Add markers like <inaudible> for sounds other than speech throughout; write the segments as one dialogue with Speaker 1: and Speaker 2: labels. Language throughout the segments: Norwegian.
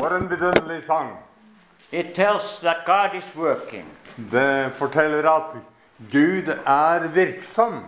Speaker 1: Warren Lee sang.
Speaker 2: It tells that God is working.
Speaker 1: Det forteller at Gud er virksom.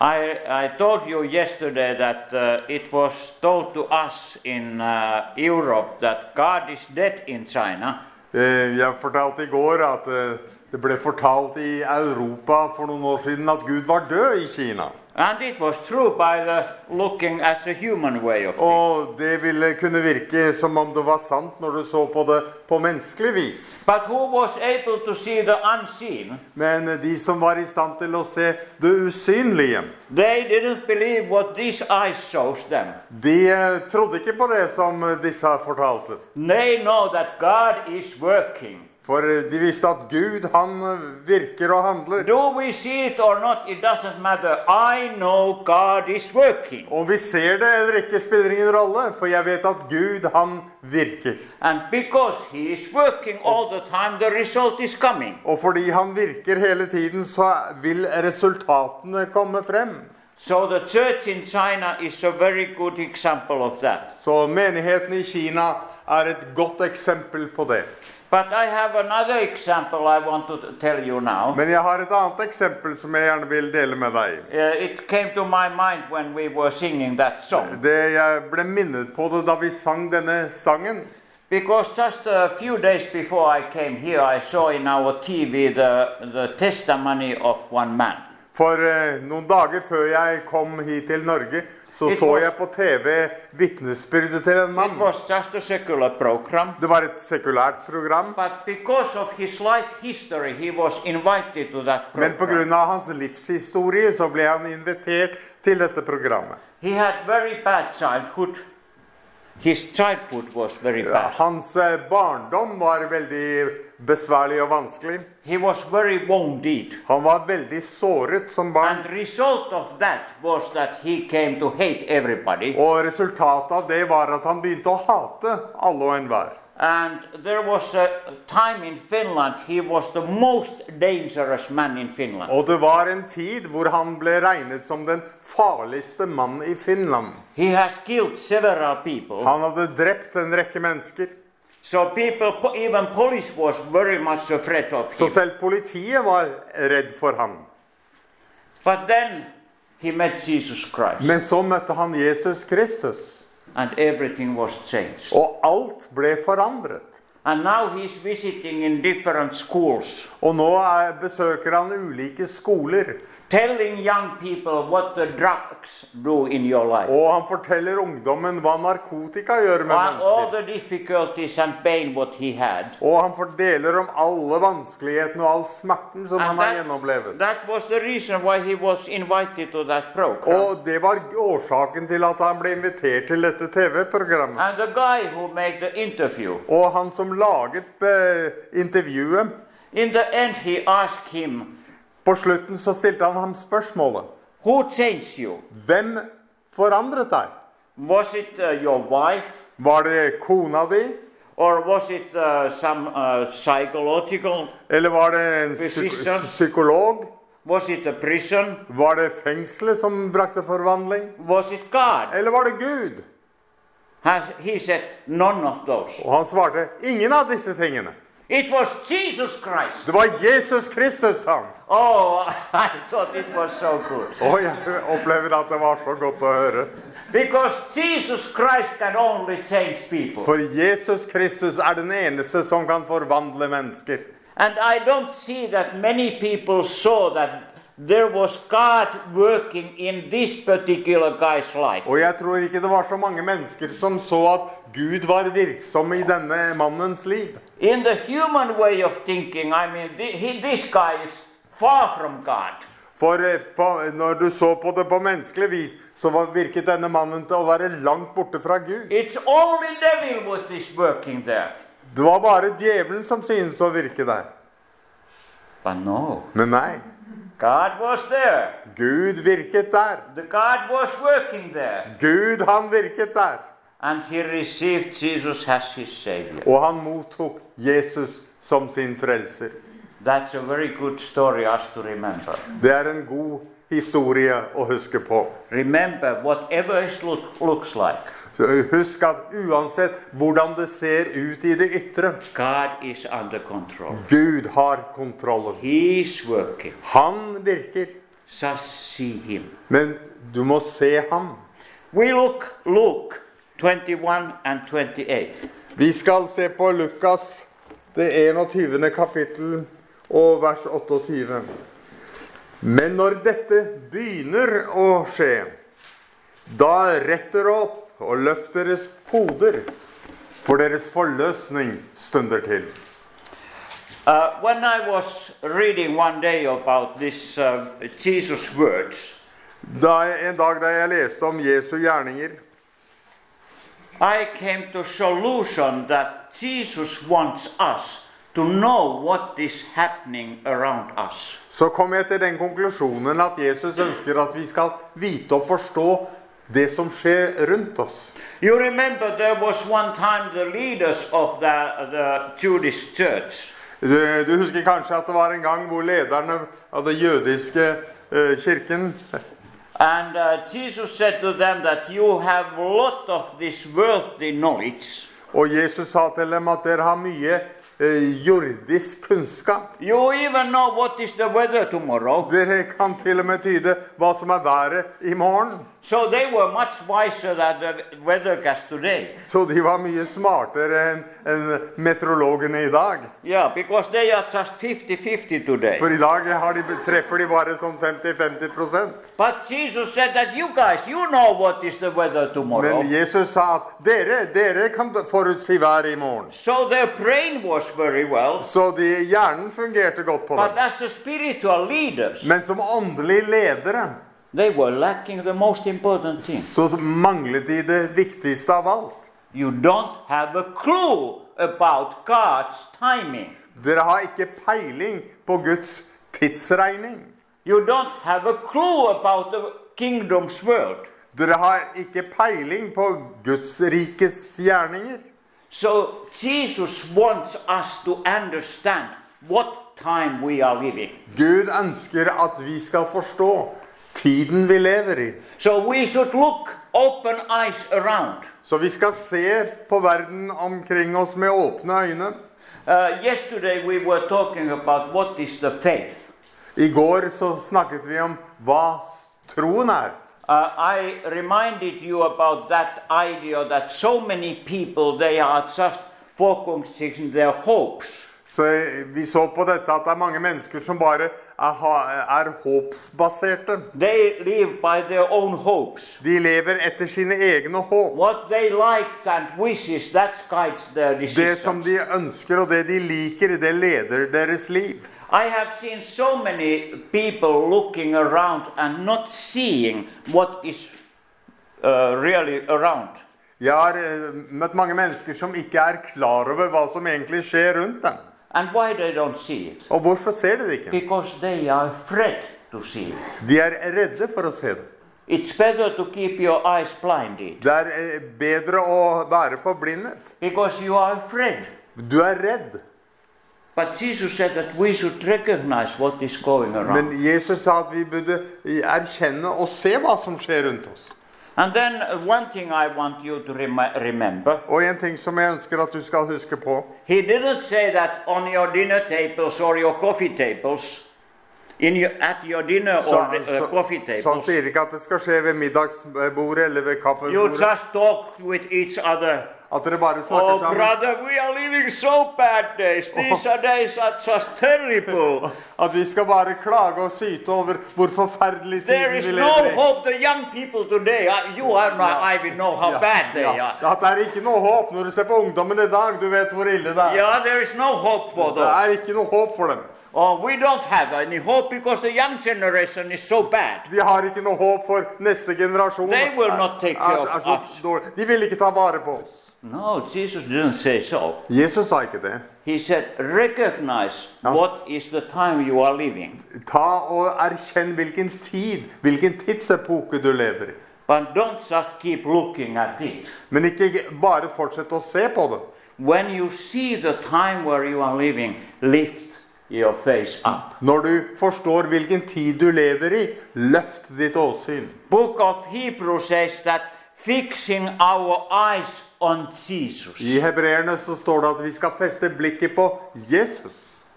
Speaker 2: I, I told you yesterday that uh, it was told to us in uh, Europe that God is dead in China.
Speaker 1: Eh, Jeg fortalte i går at eh, det ble fortalt i Europa for noen år siden at Gud var død i Kina.
Speaker 2: And it was true by the looking as a human way of it.
Speaker 1: Og det ville kunne virke som om det var sant når du så på det på menneskelig vis.
Speaker 2: But who was able to see the unseen?
Speaker 1: Men de som var i stand til å se det usynlige,
Speaker 2: They didn't believe what these eyes shows them.
Speaker 1: de eh, trodde ikke på det som disse her fortalte.
Speaker 2: They know that God is working.
Speaker 1: For eh, de visste at Gud, han eh, virker og handler.
Speaker 2: Do we see it or not, it doesn't matter. I know God is working.
Speaker 1: Om vi ser det eller ikke, spiller ingen rolle, for jeg vet at Gud, han virker.
Speaker 2: And because He is working all the time, the result is coming.
Speaker 1: Og fordi han virker hele tiden, så vil resultatene komme frem.
Speaker 2: So the church in China is a very good example of that.
Speaker 1: Så menigheten i Kina er et godt eksempel på det.
Speaker 2: But I have another example I want to t- tell you now.
Speaker 1: Men jeg har et annet eksempel som jeg gjerne vil dele med deg.
Speaker 2: Uh, it came to my mind when we were singing that song.
Speaker 1: Det Jeg ble minnet på det da vi sang denne sangen.
Speaker 2: Because just a few days before I came here, I saw in our TV the, the testimony of one man.
Speaker 1: For eh, noen dager før jeg kom hit til Norge, så
Speaker 2: It
Speaker 1: så
Speaker 2: was-
Speaker 1: jeg på TV vitnesbyrdet til en
Speaker 2: It
Speaker 1: mann.
Speaker 2: was just a secular program.
Speaker 1: Det var et sekulært program,
Speaker 2: But because of his life history, he was invited to that
Speaker 1: men pga.
Speaker 2: program.
Speaker 1: hans livshistorie så ble han invitert til dette programmet.
Speaker 2: He had very bad childhood. His childhood was very
Speaker 1: Ja,
Speaker 2: bad.
Speaker 1: Hans eh, barndom var veldig besværlig og vanskelig.
Speaker 2: He was very wounded.
Speaker 1: Han var veldig såret som barn.
Speaker 2: And result of that was that he came to hate everybody.
Speaker 1: Og resultatet av det var at han begynte å hate alle og enhver.
Speaker 2: And there was a time in Finland he was the most dangerous man in Finland.
Speaker 1: Og det var en tid hvor han ble regnet som den farligste mannen i Finland.
Speaker 2: He has killed several people.
Speaker 1: Han hadde drept en rekke mennesker.
Speaker 2: So people, po- even police was very much afraid of
Speaker 1: Så
Speaker 2: him.
Speaker 1: selv politiet var redd for ham.
Speaker 2: But then he met Jesus Christ.
Speaker 1: Men så møtte han Jesus Kristus,
Speaker 2: and everything was changed.
Speaker 1: og alt ble forandret.
Speaker 2: And now he's visiting in different schools,
Speaker 1: Og nå er, besøker han ulike skoler,
Speaker 2: telling young people what the drugs do in your life,
Speaker 1: og han forteller ungdommen hva narkotika gjør med
Speaker 2: and all
Speaker 1: mennesker.
Speaker 2: the difficulties and pain what he had.
Speaker 1: Og han fordeler om alle vanskelighetene og all smerten som han
Speaker 2: And
Speaker 1: har
Speaker 2: that,
Speaker 1: gjennomlevet.
Speaker 2: that was the reason why he was invited to that program.
Speaker 1: Og det var årsaken til at han ble invitert til dette TV-programmet.
Speaker 2: And the guy who made the interview,
Speaker 1: Og han som laget eh, intervjuet,
Speaker 2: in the end, he asked him,
Speaker 1: på slutten så stilte han ham spørsmålet.
Speaker 2: Who changed you?
Speaker 1: Hvem forandret deg?
Speaker 2: Was it uh, your wife?
Speaker 1: Var det kona di?
Speaker 2: Or was it uh, some uh, psychological?
Speaker 1: Eller var det en psyk
Speaker 2: Beskytter.
Speaker 1: psykolog?
Speaker 2: Was it a prison?
Speaker 1: Var det fengselet som brakte forvandling?
Speaker 2: Was it God?
Speaker 1: Eller var det Gud?
Speaker 2: Has, he said, none of those.
Speaker 1: Og han svarte ingen av disse tingene.
Speaker 2: It was Jesus Christ.
Speaker 1: Det var Jesus Kristus, sa han.
Speaker 2: Oh, <laughs> I thought it was so good.
Speaker 1: Og jeg opplever at det var så godt å høre.
Speaker 2: Because Jesus Christ can only change people.
Speaker 1: For Jesus Kristus er den eneste som kan forvandle mennesker.
Speaker 2: And I don't see that many people saw that there was God working in this particular guy's life.
Speaker 1: Og jeg tror ikke det var så mange mennesker som så at Gud var virksom i denne mannens liv.
Speaker 2: In the human way of thinking, I mean, thi- he, this guy is far from God.
Speaker 1: For eh, på, når du så på det på menneskelig vis, så var, virket denne mannen til å være langt borte fra Gud.
Speaker 2: It's only devil what is working there.
Speaker 1: Det var bare djevelen som syntes å virke der.
Speaker 2: But no,
Speaker 1: Men nei,
Speaker 2: God was there.
Speaker 1: Gud virket der.
Speaker 2: The God was working there,
Speaker 1: Gud, han virket der.
Speaker 2: and he received Jesus as his Savior.
Speaker 1: Og han mottok Jesus som sin frelser.
Speaker 2: That's a very good story us to remember.
Speaker 1: Det er en god historie å huske på.
Speaker 2: Remember, whatever it look, looks like,
Speaker 1: Så husk at uansett hvordan det ser ut i det ytre,
Speaker 2: God is under control.
Speaker 1: Gud har kontrollen.
Speaker 2: He's working.
Speaker 1: Han virker,
Speaker 2: Just see Him.
Speaker 1: men du må se ham.
Speaker 2: We look Luke 21 and 28.
Speaker 1: Vi skal se på Lukas, det 21. kapittel og vers 28. Men når dette begynner å skje, da rett dere opp og løft deres hoder, for deres forløsning stunder til.
Speaker 2: Uh, when I was reading one day about this uh, Jesus' words,
Speaker 1: Da jeg, en dag da jeg leste om Jesu gjerninger,
Speaker 2: I came to solution that Jesus wants us to know what is happening around us.
Speaker 1: så kom jeg til den konklusjonen at Jesus ønsker at vi skal vite og forstå det som skjer rundt oss.
Speaker 2: You remember there was one time the leaders of the, the Jewish church
Speaker 1: Du, du husker kanskje at det var en gang hvor lederne av den jødiske eh, kirken
Speaker 2: And uh, Jesus said to them that you have a lot of this worldly knowledge.
Speaker 1: Og Jesus sa til dem at dere har mye eh, jordisk kunnskap.
Speaker 2: You even know what is the weather tomorrow.
Speaker 1: Dere kan til og med tyde hva som er været i morgen.
Speaker 2: So they were much wiser than the weathercast today.
Speaker 1: Så de var mye smartere enn enn meteorologene i dag.
Speaker 2: Yeah, because they are just 50-50 today.
Speaker 1: For i dag har de, treffer de bare sånn 50-50 prosent.
Speaker 2: But Jesus said that you guys, you know what is the weather tomorrow.
Speaker 1: Men Jesus sa at dere, dere kan forutsi været i morgen.
Speaker 2: So their brain was very well.
Speaker 1: Så de, hjernen fungerte godt på
Speaker 2: But
Speaker 1: det.
Speaker 2: as a spiritual leaders,
Speaker 1: Men som åndelige ledere
Speaker 2: they were lacking the most important thing.
Speaker 1: så manglet de det viktigste av alt.
Speaker 2: You don't have a clue about God's timing.
Speaker 1: Dere har ikke peiling på Guds tidsregning.
Speaker 2: You don't have a clue about the kingdom's world.
Speaker 1: Dere har ikke peiling på Guds rikets gjerninger.
Speaker 2: So Jesus wants us to understand what time we are living.
Speaker 1: Gud ønsker at vi skal forstå tiden vi lever i.
Speaker 2: So we should look open eyes around.
Speaker 1: Så vi skal se på verden omkring oss med åpne øyne.
Speaker 2: Uh, yesterday we were talking about what is the faith.
Speaker 1: I går så snakket vi om hva troen er.
Speaker 2: Uh, I reminded you about that idea that so many people they are just focusing their hopes
Speaker 1: Så vi så på dette at det er mange mennesker som bare er, ha- er håpsbaserte.
Speaker 2: They live by their own hopes.
Speaker 1: De lever etter sine egne håp.
Speaker 2: What they like and wishes, that guides their
Speaker 1: Det som
Speaker 2: decisions.
Speaker 1: de ønsker og det de liker, det leder deres liv.
Speaker 2: I have seen so many people looking around and not seeing what is uh, really around.
Speaker 1: Jeg har eh, møtt mange mennesker som ikke er klar over hva som egentlig skjer rundt dem.
Speaker 2: And why they don't see it?
Speaker 1: Og hvorfor ser de det ikke?
Speaker 2: Because they are afraid to see it.
Speaker 1: De er redde for å se det.
Speaker 2: It's better to keep your eyes blinded
Speaker 1: Det er eh, bedre å være forblindet.
Speaker 2: because you are afraid.
Speaker 1: Du er redd.
Speaker 2: But Jesus said that we should recognize what is going around.
Speaker 1: Men Jesus sa at vi burde erkjenne og se hva som skjer rundt oss.
Speaker 2: And then uh, one thing I want you to remi- remember
Speaker 1: Og en ting som jeg ønsker at du skal huske på
Speaker 2: He didn't say that on your dinner tables or your coffee tables, in your, at your dinner
Speaker 1: Så,
Speaker 2: or the, uh,
Speaker 1: så,
Speaker 2: coffee
Speaker 1: så han
Speaker 2: tables.
Speaker 1: sier ikke at det skal skje ved middagsbordet eller ved
Speaker 2: You
Speaker 1: kaffebordet.
Speaker 2: just talk with each other.
Speaker 1: At dere bare
Speaker 2: Oh,
Speaker 1: snakker sammen.
Speaker 2: brother, we are living so bad days. These are days are just terrible.
Speaker 1: At vi skal bare klage og syte over hvor forferdelig
Speaker 2: There
Speaker 1: tiden
Speaker 2: is
Speaker 1: vi
Speaker 2: no
Speaker 1: lever i.
Speaker 2: hope. The young people today, I- you and I, I will know how bad they
Speaker 1: ja.
Speaker 2: are.
Speaker 1: At det er ikke noe håp når du ser på ungdommen i dag. Du vet hvor ille det er.
Speaker 2: Yeah, there is no hope for
Speaker 1: Det
Speaker 2: them.
Speaker 1: er ikke noe håp for dem.
Speaker 2: Oh, we don't have any hope because the young generation is so bad.
Speaker 1: De har ikke noe håp for neste generasjon.
Speaker 2: They will not take care
Speaker 1: Er- er- er
Speaker 2: of
Speaker 1: så
Speaker 2: us.
Speaker 1: dårlig. De vil ikke ta vare på oss.
Speaker 2: No, Jesus didn't say so.
Speaker 1: Jesus sa ikke det.
Speaker 2: He said, recognize
Speaker 1: Now-
Speaker 2: what is the time you are living,
Speaker 1: Ta og erkjenn hvilken tid, hvilken tidsepoke du lever i.
Speaker 2: but don't just keep looking at it.
Speaker 1: Men ikke bare fortsett å se på det.
Speaker 2: When you see the time where you are living, lift your face up.
Speaker 1: Når du forstår hvilken tid du lever i, løft ditt åsyn.
Speaker 2: Book of Hebrew says that fixing our eyes on Jesus.
Speaker 1: I hebreerne så står det at vi skal feste blikket på Jesus.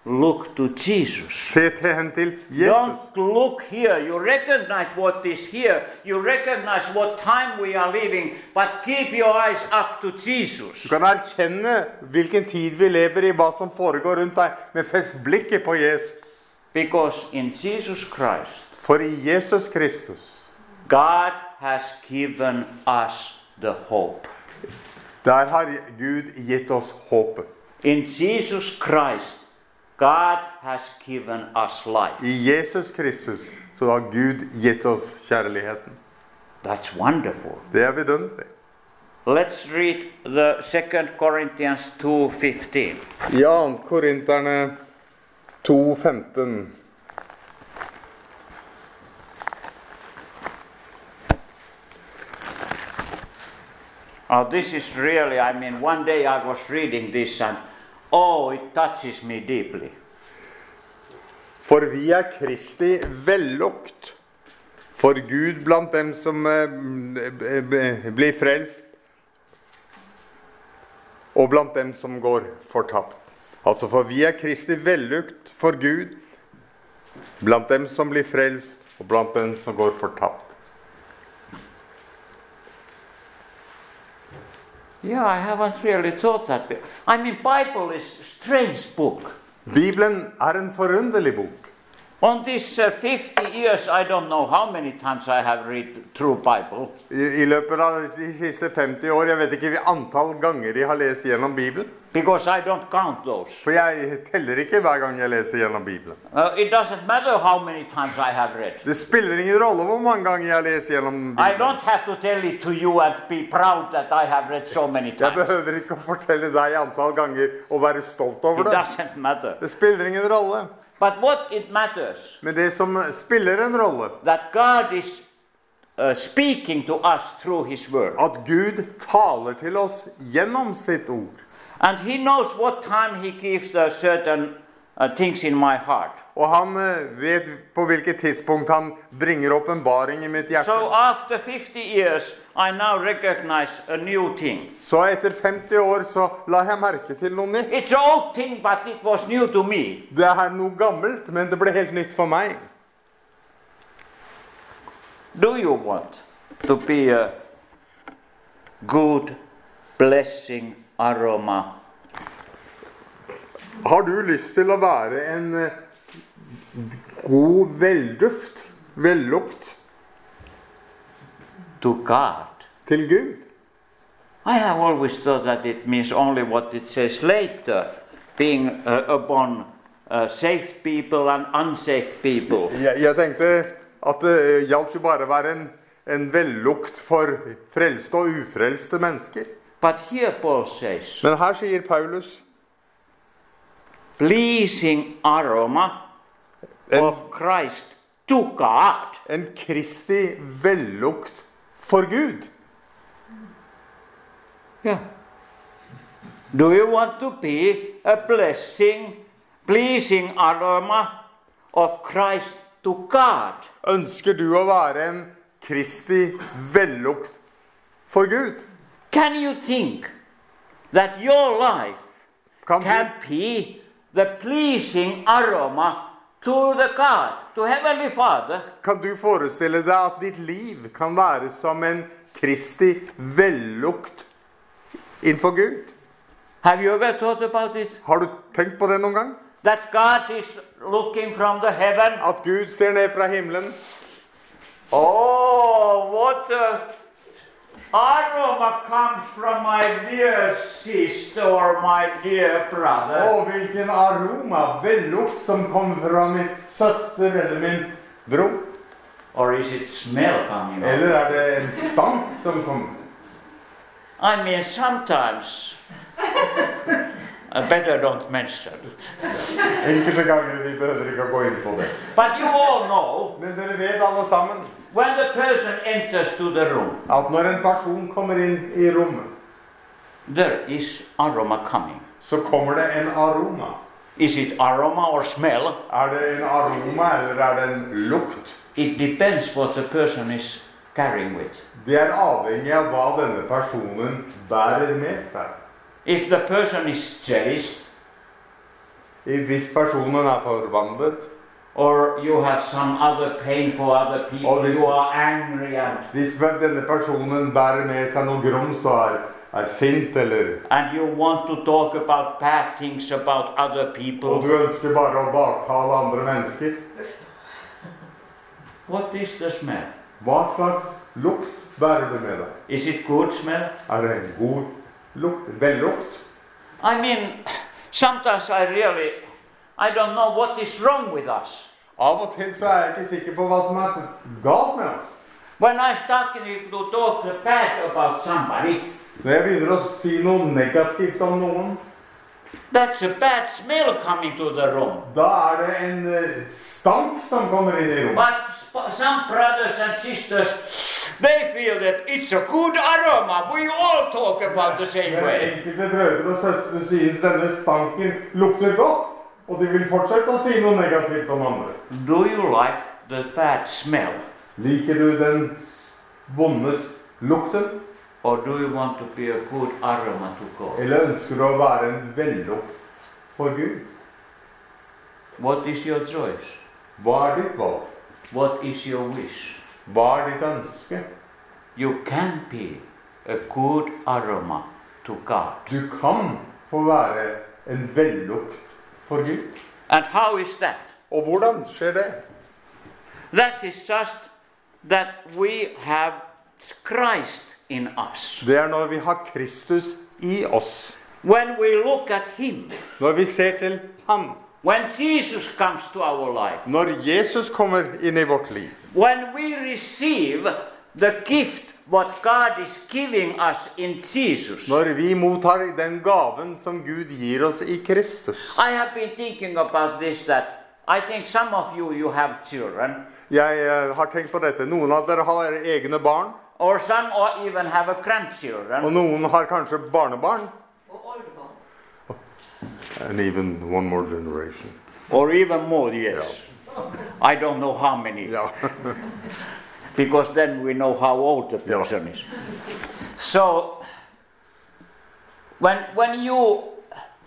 Speaker 2: Look to Jesus.
Speaker 1: Se til hen til Jesus.
Speaker 2: Don't look here. You recognize what is here. You recognize what time we are living, but keep your eyes up to Jesus.
Speaker 1: Du kan erkjenne hvilken tid vi lever i, hva som foregår rundt deg, men fest blikket på Jesus.
Speaker 2: Because in Jesus Christ,
Speaker 1: For i Jesus Kristus,
Speaker 2: God has given us the hope.
Speaker 1: der har Gud gitt oss håpet.
Speaker 2: In Jesus Christ, God has given us life.
Speaker 1: I Jesus Kristus så har Gud gitt oss kjærligheten.
Speaker 2: That's wonderful.
Speaker 1: Det er vidunderlig.
Speaker 2: Let's read the 2 Corinthians 2:15.
Speaker 1: I 2. Korinterne 2,15
Speaker 2: Oh, this is really, I mean, one day I was reading this and oh, it touches me deeply.
Speaker 1: For vi er Kristi vellukt for Gud blant dem som eh, b- b- blir frelst, og blant dem som går fortapt. Altså, for vi er Kristi vellukt for Gud blant dem som blir frelst, og blant dem som går fortapt.
Speaker 2: Yeah, I haven't really thought that. be- I mean, Bible is strange book.
Speaker 1: Bibelen er en forunderlig bok.
Speaker 2: On these uh, 50 years, I don't know how many times I have read through Bible.
Speaker 1: I, I løpet av de siste 50 år, jeg vet ikke hvilket antall ganger jeg har lest gjennom Bibelen.
Speaker 2: Because I don't count those.
Speaker 1: For jeg teller ikke hver gang jeg leser gjennom Bibelen.
Speaker 2: Uh, it doesn't matter how many times I have read.
Speaker 1: Det spiller ingen rolle hvor mange ganger jeg leser gjennom
Speaker 2: I
Speaker 1: Bibelen.
Speaker 2: don't have to tell it to you and be proud that I have read so many
Speaker 1: Jeg
Speaker 2: times.
Speaker 1: behøver ikke å fortelle deg antall ganger og være stolt
Speaker 2: It
Speaker 1: over det.
Speaker 2: doesn't matter.
Speaker 1: Det spiller ingen rolle.
Speaker 2: But what it matters
Speaker 1: Men det som spiller en rolle,
Speaker 2: that God is uh, speaking to us through His Word,
Speaker 1: at Gud taler til oss gjennom sitt ord.
Speaker 2: and He knows what time He gives the certain uh, things in my heart.
Speaker 1: Og han eh, vet på hvilket tidspunkt han bringer åpenbaring i mitt hjerte.
Speaker 2: So after 50 years, I now recognize a new thing.
Speaker 1: Så etter 50 år så la jeg merke til noe nytt.
Speaker 2: It's an old thing, but it was new to me.
Speaker 1: Det er noe gammelt, men det ble helt nytt for meg.
Speaker 2: Do you want to be a good, blessing aroma
Speaker 1: Har du lyst til å være en eh, god velduft, vellukt,
Speaker 2: to God?
Speaker 1: til Gud?
Speaker 2: I have always thought that it means only what it says later, being uh, upon uh, safe people and unsafe people.
Speaker 1: Jeg, jeg tenkte at eh, det gjaldt jo bare å være en, en vellukt for frelste og ufrelste mennesker.
Speaker 2: But here Paul says,
Speaker 1: Men her sier Paulus
Speaker 2: pleasing aroma of Christ to God.
Speaker 1: en Kristi vellukt for Gud.
Speaker 2: Yeah. Do you want to be a blessing, pleasing aroma of Christ to God?
Speaker 1: Ønsker du å være en Kristi vellukt for Gud?
Speaker 2: Can you think that your life
Speaker 1: Kan
Speaker 2: can
Speaker 1: du,
Speaker 2: be the pleasing aroma to the God, to Heavenly Father?
Speaker 1: kan du forestille deg at ditt liv kan være som en Kristi vellukt innenfor Gud?
Speaker 2: Have you ever thought about it?
Speaker 1: Har du tenkt på det noen gang?
Speaker 2: That God is looking from the heaven.
Speaker 1: At Gud ser ned fra himmelen.
Speaker 2: Oh, what a aroma comes from my dear sister or my dear brother.
Speaker 1: Og hvilken aroma, vellukt, som kommer fra min søster eller min bror.
Speaker 2: Or is it smell coming out?
Speaker 1: Eller er det en stank som kommer?
Speaker 2: I mean, sometimes. I better don't mention.
Speaker 1: Enkelte ganger vi behøver ikke å gå inn på det.
Speaker 2: But you all know
Speaker 1: Men dere vet alle sammen
Speaker 2: when the person enters to the room,
Speaker 1: at når en person kommer inn i rommet,
Speaker 2: there is aroma coming.
Speaker 1: så kommer det en aroma.
Speaker 2: Is it aroma or smell?
Speaker 1: Er det en aroma, eller er det en lukt?
Speaker 2: It depends what the person is carrying with.
Speaker 1: Det er avhengig av hva denne personen bærer med seg.
Speaker 2: If the person is jealous,
Speaker 1: I- Hvis personen er forvandlet,
Speaker 2: or you have some other pain for other people,
Speaker 1: Or this-
Speaker 2: you are angry and,
Speaker 1: hvis denne personen bærer med seg noe grums og er, er sint, eller
Speaker 2: and you want to talk about bad things about other
Speaker 1: og
Speaker 2: people,
Speaker 1: du ønsker bare å baktale andre mennesker,
Speaker 2: what is the smell?
Speaker 1: hva slags lukt bærer du med deg?
Speaker 2: Is it good smell?
Speaker 1: Er det en god lukt? Vellukt?
Speaker 2: I mean, sometimes I really, I don't know what is wrong with us.
Speaker 1: Av og til så er jeg ikke sikker på hva som er galt med oss.
Speaker 2: When I start to talk bad about somebody,
Speaker 1: Når jeg begynner å si noe negativt om noen,
Speaker 2: that's a bad smell coming to the room.
Speaker 1: da er det en eh, stank som kommer inn i rommet.
Speaker 2: But sp- some brothers and sisters, they feel that it's a good aroma. We all talk about the same
Speaker 1: Men
Speaker 2: way.
Speaker 1: enkelte brødre og søstre synes denne stanken lukter godt, og de vil fortsette å si noe negativt om andre.
Speaker 2: Do you like the bad smell,
Speaker 1: Liker du den vondes lukten,
Speaker 2: or do you want to be a good aroma to God?
Speaker 1: eller ønsker du å være en vellukt for Gud?
Speaker 2: What is your choice?
Speaker 1: Hva er ditt valg?
Speaker 2: What is your wish?
Speaker 1: Hva er ditt ønske?
Speaker 2: You can be a good aroma to God.
Speaker 1: Du kan få være en vellukt for Gud.
Speaker 2: And how is that?
Speaker 1: Og hvordan skjer det?
Speaker 2: That is just that we have Christ in us.
Speaker 1: Det er når vi har Kristus i oss.
Speaker 2: When we look at Him,
Speaker 1: Når vi ser til Ham.
Speaker 2: when Jesus comes to our life,
Speaker 1: Når Jesus kommer inn i vårt liv.
Speaker 2: when we receive the gift what God is giving us in Jesus.
Speaker 1: Når vi mottar den gaven som Gud gir oss i Kristus.
Speaker 2: I have been thinking about this that I think some of you you have children
Speaker 1: Jeg eh, har tenkt på dette. Noen av dere har egne barn.
Speaker 2: or some or even have a grandchildren
Speaker 1: Og noen har kanskje barnebarn. Oh.
Speaker 3: Og oldebarn.
Speaker 1: And even one more generation.
Speaker 2: or even more yes. I don't know how many.
Speaker 1: Ja.
Speaker 2: because then we know how old the
Speaker 1: Yeah.
Speaker 2: person is. So, when, when you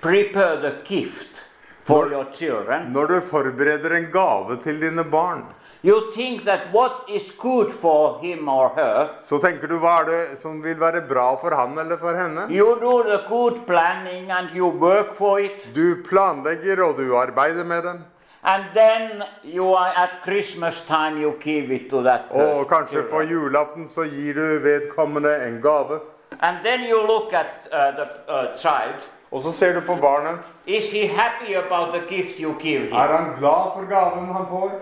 Speaker 2: prepare the gift for
Speaker 1: Nor-
Speaker 2: your children,
Speaker 1: Når du forbereder en gave til dine barn,
Speaker 2: you think that what is good for him or her,
Speaker 1: så tenker du hva er det som vil være bra for han eller for henne?
Speaker 2: you do the good planning and you work for it,
Speaker 1: Du planlegger, og du arbeider med dem.
Speaker 2: and then you are at Christmas time you give it to that uh,
Speaker 1: Og
Speaker 2: person.
Speaker 1: kanskje på julaften så gir du vedkommende en gave.
Speaker 2: And then you look at uh, the uh, child.
Speaker 1: Og så ser du på barnet.
Speaker 2: Is he happy about the gift you give him?
Speaker 1: Er han glad for gaven han får?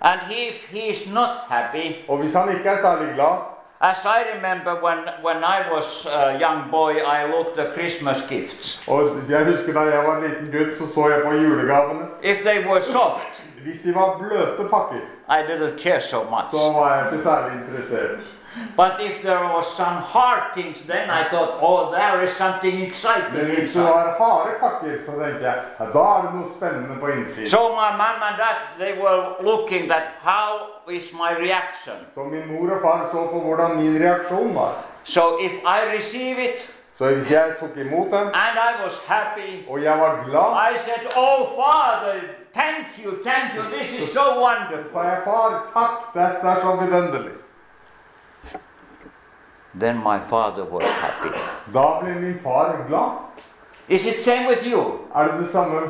Speaker 2: And if he is not happy,
Speaker 1: Og hvis han ikke er særlig glad
Speaker 2: As I remember when, when I was a young boy, I looked at Christmas gifts.
Speaker 1: Og jeg husker da jeg var en liten gutt, så så jeg på julegavene.
Speaker 2: If they were soft,
Speaker 1: Hvis de var bløte pakker,
Speaker 2: I didn't care so much.
Speaker 1: så var jeg ikke særlig interessert.
Speaker 2: But if there was some hard things, then I thought, oh, there is something exciting
Speaker 1: Men hvis det
Speaker 2: inside.
Speaker 1: var harde pakker, så tenkte jeg ja, da er det noe spennende på innsiden.
Speaker 2: So my mom and dad, they were looking at how is my reaction.
Speaker 1: Så min mor og far så på hvordan min reaksjon var.
Speaker 2: So if I receive it
Speaker 1: Så hvis jeg tok imot dem,
Speaker 2: and I was happy,
Speaker 1: og jeg var glad,
Speaker 2: I said, oh, Father, thank you, thank you, this is so
Speaker 1: så sa
Speaker 2: wonderful.
Speaker 1: jeg far, takk, dette er så vidunderlig.
Speaker 2: Then my father was happy.
Speaker 1: Da ble min far glad.
Speaker 2: Is it same with you?
Speaker 1: Er det det samme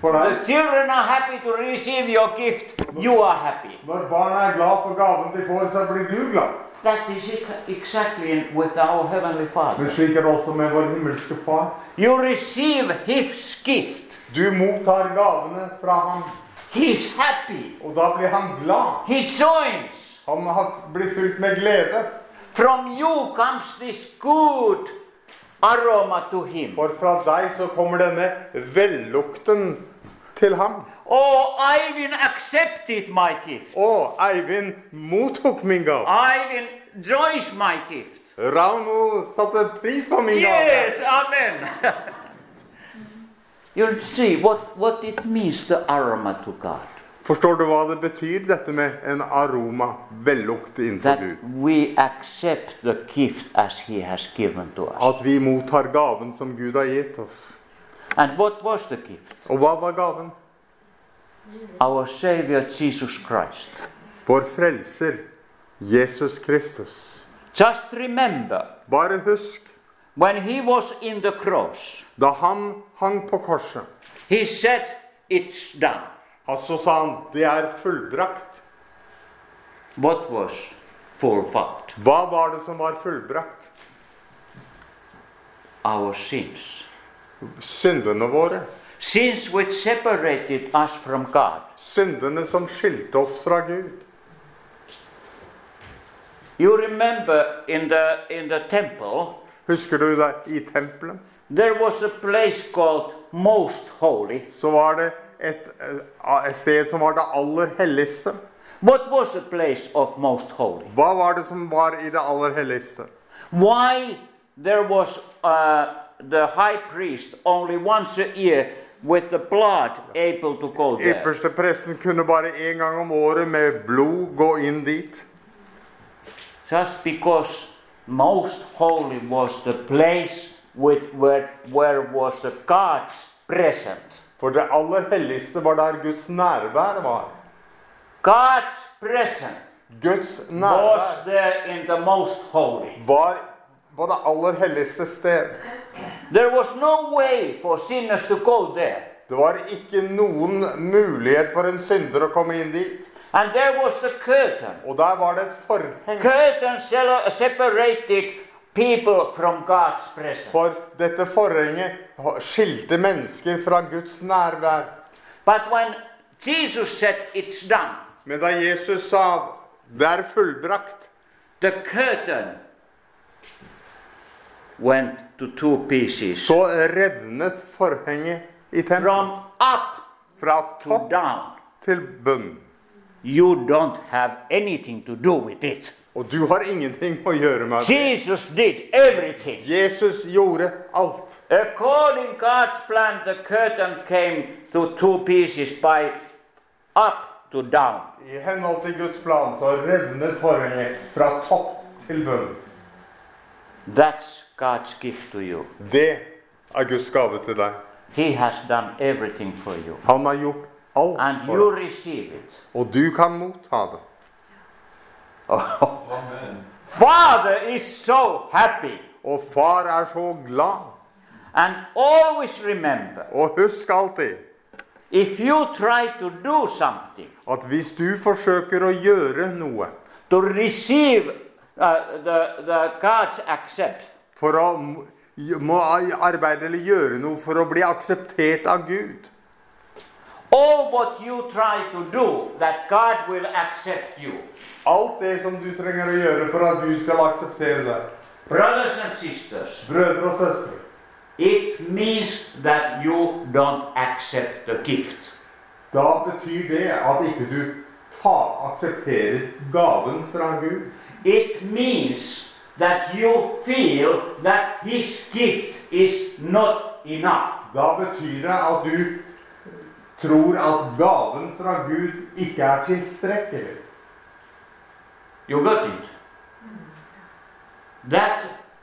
Speaker 1: for
Speaker 2: The
Speaker 1: deg?
Speaker 2: children are happy to receive your gift. You are happy.
Speaker 1: Når barna er glad for gaven de får, så blir du glad.
Speaker 2: That is it exactly with our Heavenly
Speaker 1: Men
Speaker 2: Father.
Speaker 1: slik er det også med vår himmelske far.
Speaker 2: You receive His gift.
Speaker 1: Du mottar gavene fra ham,
Speaker 2: He is happy.
Speaker 1: og da blir han glad.
Speaker 2: He joins.
Speaker 1: Han har- blir fylt med glede,
Speaker 2: From you comes this good aroma to Him.
Speaker 1: for fra deg så kommer denne vellukten til ham.
Speaker 2: Oh, Ivan accepted my gift.
Speaker 1: Å, Eivind mottok min gave.
Speaker 2: Ivan joins my gift.
Speaker 1: Rauno satte pris på min gave.
Speaker 2: Yes, Amen. <laughs> You'll see what, what it means, the aroma to God.
Speaker 1: Forstår du hva det betyr, dette med en aroma, vellukt innenfor Gud?
Speaker 2: That we accept the gift as He has given to us.
Speaker 1: At vi mottar gaven som Gud har gitt oss.
Speaker 2: And what was the gift?
Speaker 1: Og hva var gaven?
Speaker 2: Our Savior Jesus Christ.
Speaker 1: Vår frelser, Jesus Kristus.
Speaker 2: Just remember,
Speaker 1: Bare husk,
Speaker 2: when He was in the cross,
Speaker 1: da han hang på korset,
Speaker 2: He said, It's done.
Speaker 1: så sa han, det er fullbrakt.
Speaker 2: What was fulfilled?
Speaker 1: Hva var det som var fullbrakt?
Speaker 2: Our sins.
Speaker 1: Syndene våre.
Speaker 2: Sins which separated us from God.
Speaker 1: Syndene som skilte oss fra Gud.
Speaker 2: You remember in the, in the temple,
Speaker 1: Husker du det? I tempelet
Speaker 2: there was a place called Most Holy.
Speaker 1: så var det et, eh, et sted som var det aller helligste.
Speaker 2: What was the place of Most Holy?
Speaker 1: Hva var det som var i det aller helligste?
Speaker 2: Why there was uh, the high priest only once a year with the blood able to go there?
Speaker 1: Ypperste presten kunne bare én gang om året med blod gå inn dit.
Speaker 2: Just because Most Holy was the place with where, where was the God's present.
Speaker 1: For det aller helligste var der Guds nærvær var.
Speaker 2: God's present
Speaker 1: Guds
Speaker 2: was
Speaker 1: nærvær
Speaker 2: there in the Most Holy.
Speaker 1: var på det aller helligste sted.
Speaker 2: There was no way for sinners to go there.
Speaker 1: Det var ikke noen mulighet for en synder å komme inn dit.
Speaker 2: And there was the curtain.
Speaker 1: Og der var det et forheng.
Speaker 2: Curtain sel- separated people from God's presence.
Speaker 1: For dette forhenget skilte mennesker fra Guds nærvær.
Speaker 2: But when Jesus said it's done,
Speaker 1: Men da Jesus sa 'det er fullbrakt',
Speaker 2: the curtain went to two pieces
Speaker 1: så revnet forhenget i tempelet.
Speaker 2: from up
Speaker 1: Fra
Speaker 2: to
Speaker 1: topp
Speaker 2: down.
Speaker 1: til bunn.
Speaker 2: You don't have anything to do with it.
Speaker 1: Og du har ingenting å gjøre med det.
Speaker 2: Jesus did everything.
Speaker 1: Jesus gjorde alt.
Speaker 2: According God's plan, the curtain came to two pieces by up to down.
Speaker 1: I henhold til Guds plan så revnet forhenget fra topp til bunn.
Speaker 2: That's God's gift to you.
Speaker 1: Det er Guds gave til deg.
Speaker 2: He has done everything for you.
Speaker 1: Han har gjort alt
Speaker 2: And you
Speaker 1: for deg.
Speaker 2: receive it.
Speaker 1: Og du kan motta det.
Speaker 2: Father is so happy.
Speaker 1: Og far er så glad.
Speaker 2: And always remember
Speaker 1: Og husk alltid
Speaker 2: if you try to do something,
Speaker 1: at hvis du forsøker å gjøre noe
Speaker 2: to receive uh, the, the God's accept,
Speaker 1: for å m- må arbeide eller gjøre noe for å bli akseptert av Gud
Speaker 2: all what you try to do, that God will accept you.
Speaker 1: Alt det som du trenger å gjøre for at Gud skal akseptere deg,
Speaker 2: Brothers and sisters,
Speaker 1: brødre og søstre,
Speaker 2: It means that you don't accept the gift.
Speaker 1: da betyr det at ikke du ta- aksepterer gaven fra Gud.
Speaker 2: It means that you feel that his gift is not enough.
Speaker 1: Da betyr det at du tror at gaven fra Gud ikke er tilstrekkelig.
Speaker 2: You got it? That,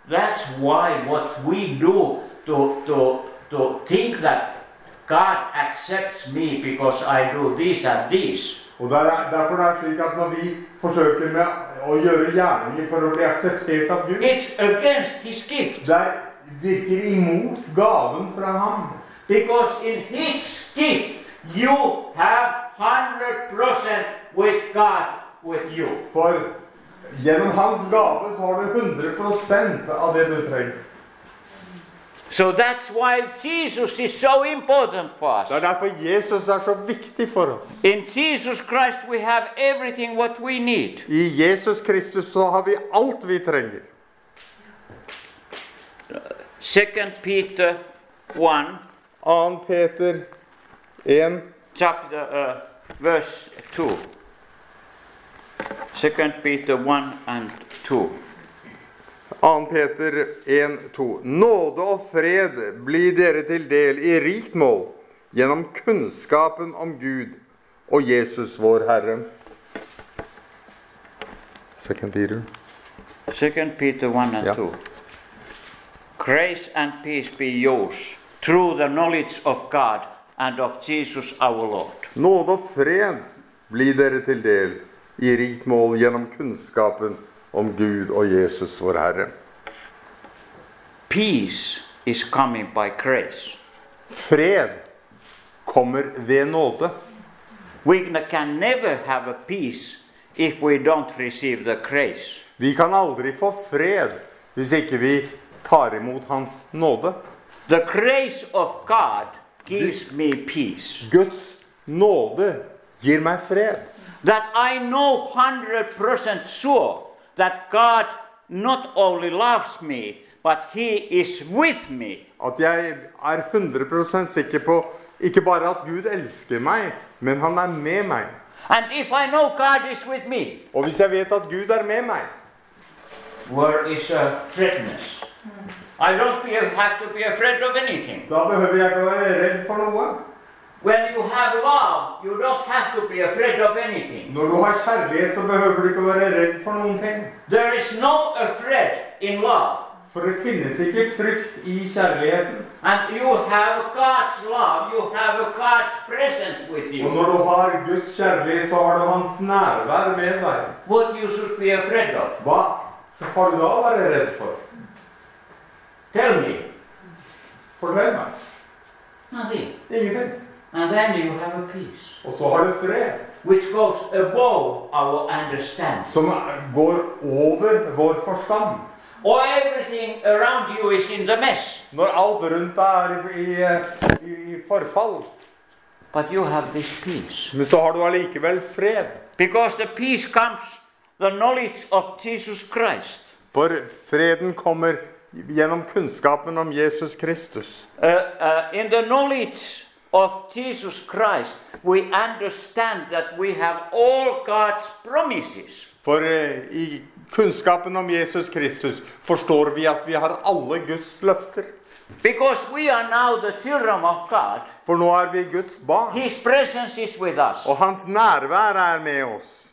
Speaker 2: that's why what we do to, to, to think that God accepts me because I do this and this.
Speaker 1: Og der er, Derfor er det slik at når vi forsøker med å gjøre gjerninger for å bli akseptert av Gud,
Speaker 2: It's against his gift.
Speaker 1: det er- virker imot gaven fra ham.
Speaker 2: Because in His gift you have 100% with God with you.
Speaker 1: For gjennom hans gave så har du 100 av det du trenger.
Speaker 2: So that's why Jesus is so important for
Speaker 1: Det er
Speaker 2: us.
Speaker 1: derfor Jesus er så viktig for oss.
Speaker 2: In Jesus Christ we have everything what we need.
Speaker 1: I Jesus Kristus så har vi alt vi trenger.
Speaker 2: 2 Peter 1
Speaker 1: 2. Peter 1,
Speaker 2: chapter uh, verse 2. 2 Peter 1 and 2.
Speaker 1: 2. Peter 1,2.: Nåde og fred bli dere til del i rikt mål gjennom kunnskapen om Gud og Jesus vår Herre. 2. Peter.
Speaker 2: 2 Peter 1 and
Speaker 1: Yeah.
Speaker 2: 2. Grace and peace be yours through the knowledge of God and of Jesus our Lord.
Speaker 1: Nåde og fred bli dere til del i rikt mål gjennom kunnskapen om Gud og Jesus vår Herre.
Speaker 2: Peace is coming by grace.
Speaker 1: Fred kommer ved nåde.
Speaker 2: We n- can never have a peace if we don't receive the grace.
Speaker 1: Vi kan aldri få fred hvis ikke vi tar imot Hans nåde.
Speaker 2: The grace of God gives me peace.
Speaker 1: Guds nåde gir meg fred.
Speaker 2: That I know 100% sure that God not only loves me, but He is with me.
Speaker 1: At jeg er 100 sikker på ikke bare at Gud elsker meg, men han er med meg.
Speaker 2: And if I know God is with me,
Speaker 1: Og hvis jeg vet at Gud er med meg,
Speaker 2: where is a threatness? I don't be, have to be afraid of anything.
Speaker 1: da behøver jeg ikke være redd for noe.
Speaker 2: When you have love, you don't have to be afraid of anything.
Speaker 1: Når du har kjærlighet, så behøver du ikke være redd for noen ting.
Speaker 2: There is no afraid in love.
Speaker 1: For det finnes ikke frykt i kjærligheten.
Speaker 2: And you have God's love, you have God's presence with
Speaker 1: Og
Speaker 2: you.
Speaker 1: når du har Guds kjærlighet, så har du hans nærvær med deg.
Speaker 2: What you should be afraid of?
Speaker 1: Hva skal du da være redd for?
Speaker 2: Tell me.
Speaker 1: Fortell meg.
Speaker 2: Nothing.
Speaker 1: Ingenting.
Speaker 2: And then you have a peace
Speaker 1: Og så har du fred,
Speaker 2: which goes above our understanding.
Speaker 1: som går over vår forstand.
Speaker 2: Or everything around you is in the mess,
Speaker 1: Når alt rundt deg er i, i forfall.
Speaker 2: but you have this peace.
Speaker 1: Men så har du allikevel fred.
Speaker 2: Because the peace comes the knowledge of Jesus Christ.
Speaker 1: For freden kommer gjennom kunnskapen om Jesus Kristus.
Speaker 2: Uh, uh, in the knowledge of Jesus Christ, we understand that we have all God's promises.
Speaker 1: For eh, i kunnskapen om Jesus Kristus forstår vi at vi har alle Guds løfter.
Speaker 2: Because we are now the children of God,
Speaker 1: For nå er vi Guds barn,
Speaker 2: His presence is with us.
Speaker 1: og hans nærvær er med oss.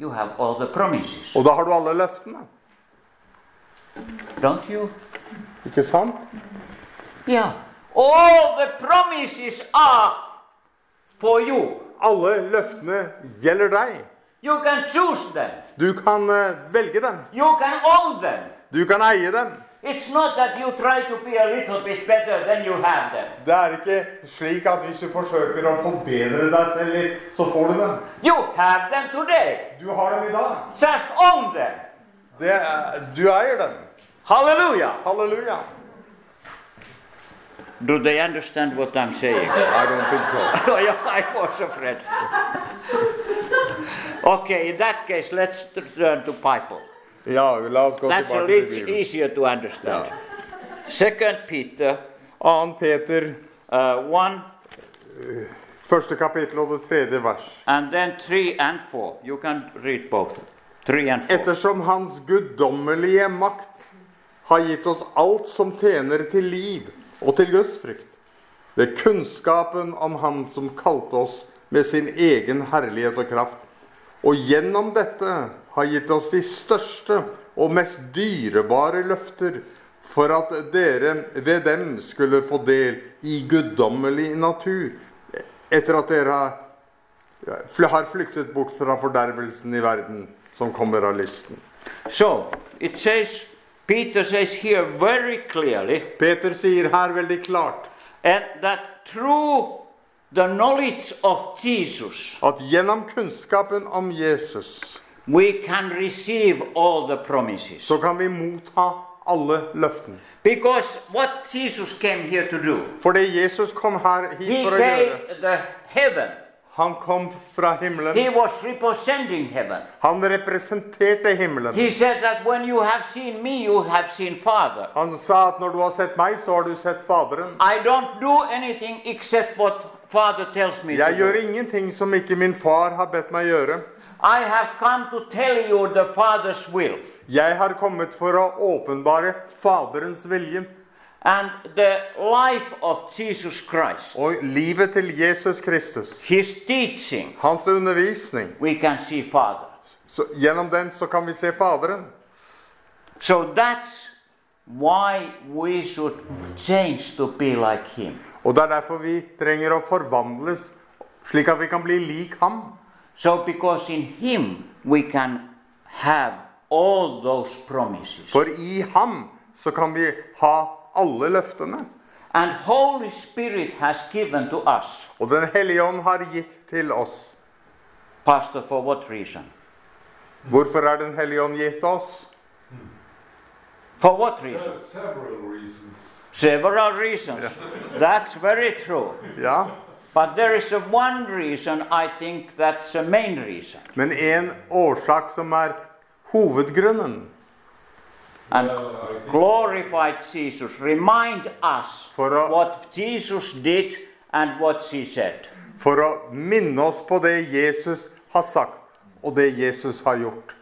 Speaker 2: You have all the promises,
Speaker 1: Og da har du alle løftene.
Speaker 2: don't you?
Speaker 1: Ikke sant?
Speaker 2: Yeah. All the promises are for you.
Speaker 1: Alle løftene gjelder deg.
Speaker 2: You can choose them,
Speaker 1: Du kan eh, velge dem.
Speaker 2: you can own them.
Speaker 1: Du kan eie dem.
Speaker 2: It's not that you try to be a little bit better than you have them.
Speaker 1: Det er ikke slik at hvis du forsøker å forbedre deg selv litt, så får du dem.
Speaker 2: You have them today.
Speaker 1: Du har dem i dag.
Speaker 2: Just own them.
Speaker 1: Det er, du eier dem.
Speaker 2: Hallelujah.
Speaker 1: Halleluja.
Speaker 2: Do they understand what I'm <laughs> saying?
Speaker 1: I don't think so.
Speaker 2: Oh, yeah, I was afraid. okay, in that case, let's t- turn to Bible.
Speaker 1: Ja, la oss gå
Speaker 2: That's a
Speaker 1: tilbake
Speaker 2: little
Speaker 1: til Bibelen.
Speaker 2: easier to understand.
Speaker 1: Ja.
Speaker 2: Second Peter
Speaker 1: 2. Peter
Speaker 2: uh, 1
Speaker 1: Første kapittel og det tredje vers.
Speaker 2: and then 3 and 4. You can read both. 3 and 4.
Speaker 1: Ettersom Hans guddommelige makt har gitt oss alt som tjener til liv og til Guds frykt, ved kunnskapen om Han som kalte oss med sin egen herlighet og kraft, og gjennom dette har gitt oss de største og mest dyrebare løfter, for at dere ved dem skulle få del i guddommelig natur, etter at dere har fl- har flyktet bort fra fordervelsen i verden som kommer av lysten.
Speaker 2: So, it says, Peter says here very clearly,
Speaker 1: Peter sier her veldig klart
Speaker 2: and that through the knowledge of Jesus,
Speaker 1: at gjennom kunnskapen om Jesus
Speaker 2: we can receive all the promises.
Speaker 1: så kan vi motta alle løftene.
Speaker 2: Because what Jesus came here to do,
Speaker 1: For det Jesus kom her hit
Speaker 2: he
Speaker 1: for å gjøre
Speaker 2: gave the heaven.
Speaker 1: Han kom fra himmelen.
Speaker 2: He was representing heaven.
Speaker 1: Han representerte himmelen.
Speaker 2: He said that when you have seen me, you have seen Father.
Speaker 1: Han sa at når du har sett meg, så har du sett Faderen.
Speaker 2: I don't do anything except what Father tells me
Speaker 1: Jeg
Speaker 2: to
Speaker 1: gjør
Speaker 2: do.
Speaker 1: ingenting som ikke min far har bedt meg gjøre.
Speaker 2: I have come to tell you the Father's will.
Speaker 1: 'Jeg har kommet for å åpenbare Faderens vilje'.
Speaker 2: and the life of Jesus Christ,
Speaker 1: Og livet til Jesus Kristus,
Speaker 2: his teaching,
Speaker 1: hans undervisning
Speaker 2: we can see Father.
Speaker 1: så Gjennom den så kan vi se Faderen.
Speaker 2: So that's why we should change to be like him.
Speaker 1: Og det er derfor vi trenger å forvandles, slik at vi kan bli lik ham.
Speaker 2: So because in him we can have all those promises.
Speaker 1: For i ham så kan vi ha alle løftene.
Speaker 2: And Holy Spirit has given to us,
Speaker 1: Og Den hellige ånd har gitt til oss.
Speaker 2: Pastor, for what reason?
Speaker 1: Hvorfor er Den hellige ånd gitt oss?
Speaker 2: For what reason?
Speaker 3: Several reasons.
Speaker 2: Several reasons. That's very true.
Speaker 1: Ja,
Speaker 2: But there is a one reason I think that's the main reason.
Speaker 1: men en årsak som er hovedgrunnen
Speaker 2: And
Speaker 3: Well, Uh, I think
Speaker 2: glorified Jesus remind us
Speaker 1: For a-
Speaker 2: what Jesus did and what he said.
Speaker 1: for å minne oss på det Jesus har sagt, og det Jesus har gjort,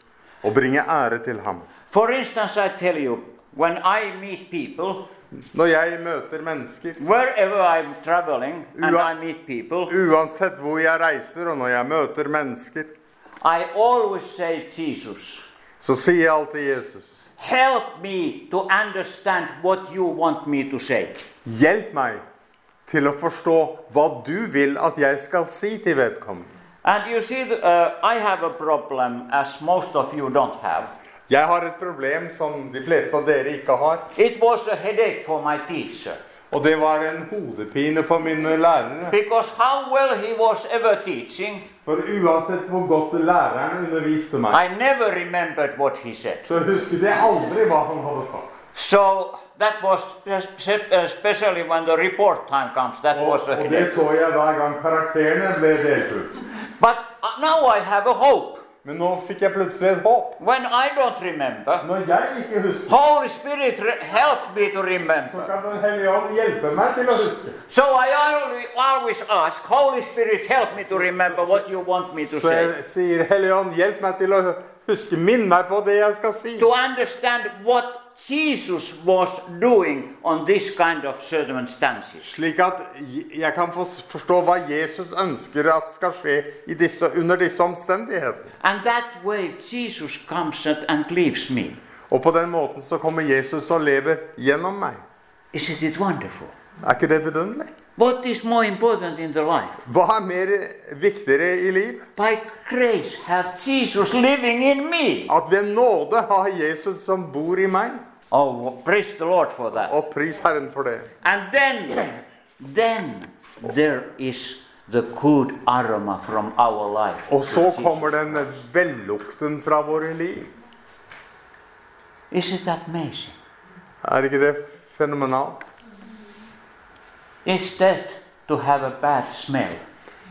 Speaker 1: og bringe ære til ham.
Speaker 2: For instance, I tell you, when I meet people,
Speaker 1: Når jeg møter mennesker,
Speaker 2: wherever I'm traveling and
Speaker 1: Ua-
Speaker 2: I meet people,
Speaker 1: uansett hvor jeg reiser, og når jeg møter mennesker,
Speaker 2: I always say, Jesus,
Speaker 1: så sier jeg alltid Jesus.
Speaker 2: help me to understand what you want me to say.
Speaker 1: Hjelp meg til å forstå hva du vil at jeg skal si til vedkommende.
Speaker 2: And you see, the- uh, I have a problem, as most of you don't have.
Speaker 1: Jeg har et problem som de fleste av dere ikke har,
Speaker 2: It was a headache for my teacher.
Speaker 1: og det var en hodepine for mine lærere.
Speaker 2: Because how well he was ever teaching,
Speaker 1: For uansett hvor godt læreren underviste meg,
Speaker 2: I never remembered what he said.
Speaker 1: så husket jeg aldri hva han hadde sagt.
Speaker 2: So that was, spe- spe- especially when the report time comes, that
Speaker 1: Og,
Speaker 2: was a
Speaker 1: og det
Speaker 2: headache.
Speaker 1: så jeg hver gang karakterene ble delt ut.
Speaker 2: But uh, now I have a hope.
Speaker 1: Men nå fikk jeg plutselig et håp.
Speaker 2: When I don't remember,
Speaker 1: Når jeg ikke husker,
Speaker 2: Holy Spirit re- helps me to
Speaker 1: så
Speaker 2: remember.
Speaker 1: kan Den hellige ånd hjelpe meg til å huske.
Speaker 2: So I always, always ask, Holy Spirit, help me to remember what you want me to
Speaker 1: Så
Speaker 2: say.
Speaker 1: jeg sier, Hellige ånd, hjelp meg til å huske, minn meg på det jeg skal si.
Speaker 2: To understand what Jesus was doing on this kind of circumstances.
Speaker 1: Slik at jeg kan få forstå hva Jesus ønsker at skal skje i disse, under disse omstendighetene.
Speaker 2: And that way Jesus comes and, and leaves me.
Speaker 1: Og på den måten så kommer Jesus og lever gjennom meg.
Speaker 2: Isn't it wonderful?
Speaker 1: Er ikke det vidunderlig?
Speaker 2: What is more important in the life?
Speaker 1: Hva er mer viktigere i liv?
Speaker 2: By grace have Jesus living in me.
Speaker 1: At ved nåde har Jesus som bor i meg.
Speaker 2: Oh, praise the Lord for that.
Speaker 1: Og pris Herren for det.
Speaker 2: And then, then there is the good aroma from our life.
Speaker 1: Og
Speaker 2: to
Speaker 1: så
Speaker 2: Jesus.
Speaker 1: kommer den vellukten fra våre liv.
Speaker 2: Isn't that amazing?
Speaker 1: Er ikke det fenomenalt?
Speaker 2: Instead to have a bad smell.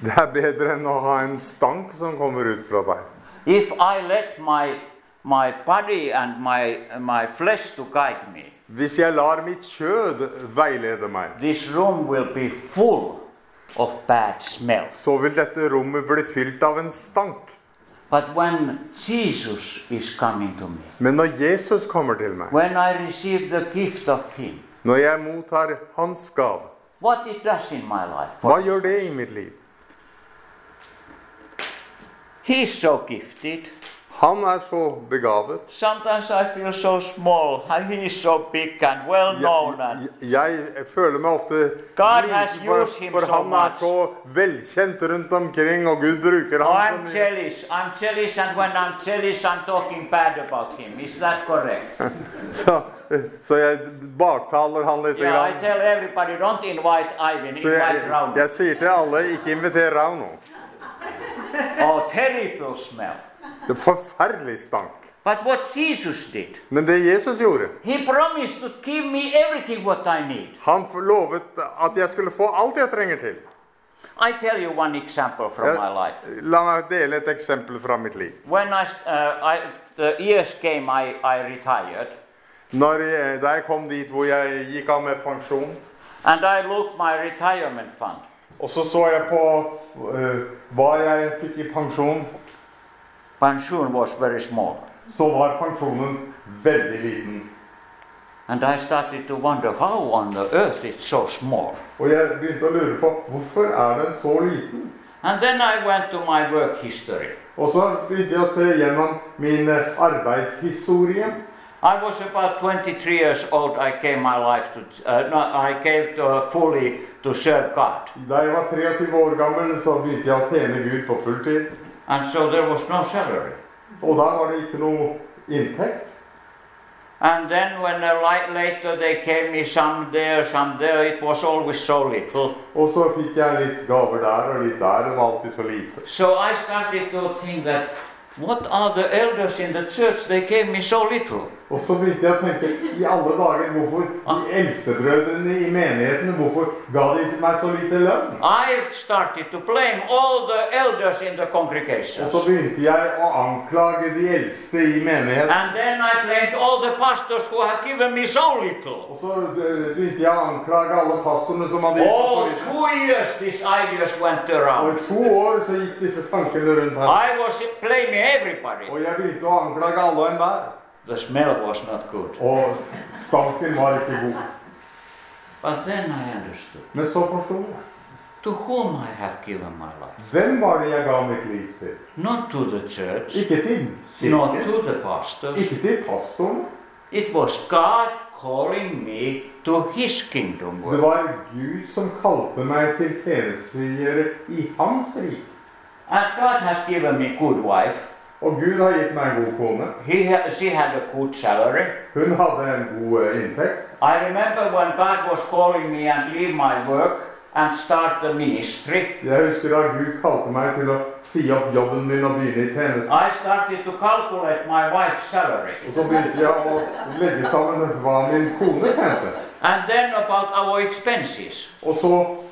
Speaker 1: Det er bedre enn å ha en stank som kommer ut fra deg.
Speaker 2: If I let my my body and my my flesh to guide me,
Speaker 1: Hvis jeg lar mitt kjød veilede meg,
Speaker 2: This room will be full of bad smells.
Speaker 1: så vil dette rommet bli fylt av en stank.
Speaker 2: But when Jesus is coming to me,
Speaker 1: Men når Jesus kommer til meg,
Speaker 2: when I receive the gift of Him,
Speaker 1: når jeg mottar Hans gave,
Speaker 2: what it does in my life?
Speaker 1: hva gjør det i mitt liv?
Speaker 2: He is so gifted.
Speaker 1: Han er så begavet.
Speaker 2: Sometimes I feel so small. <laughs> and He is so big and well known. And
Speaker 1: Jeg, jeg føler meg ofte
Speaker 2: God
Speaker 1: liten,
Speaker 2: has
Speaker 1: for,
Speaker 2: used him
Speaker 1: for
Speaker 2: so
Speaker 1: han er
Speaker 2: much.
Speaker 1: så velkjent rundt omkring, og Gud bruker
Speaker 2: Oh,
Speaker 1: ham
Speaker 2: I'm
Speaker 1: så mye.
Speaker 2: jealous. I'm jealous, and when I'm jealous, I'm talking bad about him. Is that correct?
Speaker 1: Så, så jeg baktaler han litt.
Speaker 2: Yeah, I
Speaker 1: grann.
Speaker 2: tell everybody, don't invite Ivan,
Speaker 1: Så jeg,
Speaker 2: invite Raul.
Speaker 1: jeg sier til alle, ikke inviter Rauno.
Speaker 2: Oh, terrible smell.
Speaker 1: Det er forferdelig stank.
Speaker 2: But what Jesus did,
Speaker 1: Men det Jesus gjorde
Speaker 2: He promised to give me everything what I need.
Speaker 1: Han lovet at jeg skulle få alt jeg trenger til.
Speaker 2: I tell you one example from
Speaker 1: Jeg-
Speaker 2: my life.
Speaker 1: la meg dele et eksempel fra mitt liv.
Speaker 2: When I, uh, I, the years came, I, I retired,
Speaker 1: Når jeg, da jeg kom dit hvor jeg gikk av med pensjon,
Speaker 2: and I looked my retirement fund,
Speaker 1: og så så jeg på eh, hva jeg fikk i pensjon
Speaker 2: pension was very small,
Speaker 1: så var pensjonen veldig liten.
Speaker 2: And I started to wonder how on the earth it's so small.
Speaker 1: Og jeg begynte å lure på hvorfor er den så liten?
Speaker 2: And then I went to my work history.
Speaker 1: Og så begynte jeg å se gjennom min eh, arbeidshistorie.
Speaker 2: I was about 23 years old. I gave my life to, uh, no, I gave to, fully to serve God.
Speaker 1: Da jeg var 23 år gammel, så begynte jeg å tjene Gud på fulltid.
Speaker 2: And so there was no salary.
Speaker 1: Og da var det ikke noe inntekt.
Speaker 2: And then when a light later they gave me some there, some there, it was always so little.
Speaker 1: Og så fikk jeg litt gaver der og litt der. Det var alltid så lite.
Speaker 2: So I started to think that what are the elders in the church? They gave me so little.
Speaker 1: Og så begynte jeg å tenke i alle dager hvorfor de eldstebrødrene i menigheten hvorfor ga de meg så lite lønn?
Speaker 2: I started to blame all the elders in the congregation.
Speaker 1: Og så begynte jeg å anklage de eldste i menigheten.
Speaker 2: And then I blamed all the pastors who have given me so little.
Speaker 1: Og så eh, begynte jeg å anklage alle pastorene som hadde gitt meg så
Speaker 2: All
Speaker 1: lite.
Speaker 2: two years these ideas went
Speaker 1: Og
Speaker 2: around.
Speaker 1: i to år så gikk disse tankene rundt her.
Speaker 2: I was blaming everybody.
Speaker 1: Og jeg begynte å anklage alle og enhver.
Speaker 2: The smell was not good.
Speaker 1: Og stanken var ikke god.
Speaker 2: But then I understood
Speaker 1: Men så forsto jeg.
Speaker 2: to whom I have given my life.
Speaker 1: Hvem var det jeg ga mitt liv til?
Speaker 2: Not to the church,
Speaker 1: Ikke til
Speaker 2: not
Speaker 1: kirken.
Speaker 2: to the pastors.
Speaker 1: Ikke til pastoren.
Speaker 2: It was God calling me to his kingdom
Speaker 1: Det
Speaker 2: work.
Speaker 1: var Gud som kalte meg til tjenestegjøre i hans rik.
Speaker 2: And God has given me good wife.
Speaker 1: Og Gud har gitt meg en god kone.
Speaker 2: He ha- she had a good salary.
Speaker 1: Hun hadde en god eh, inntekt.
Speaker 2: I remember when God was calling me and leave my work and start the ministry.
Speaker 1: Jeg husker da Gud kalte meg til å si opp jobben min og begynne i tjeneste.
Speaker 2: I started to calculate my wife's salary.
Speaker 1: Og så begynte jeg å legge sammen hva min kone tjente.
Speaker 2: And then about our expenses.
Speaker 1: Og så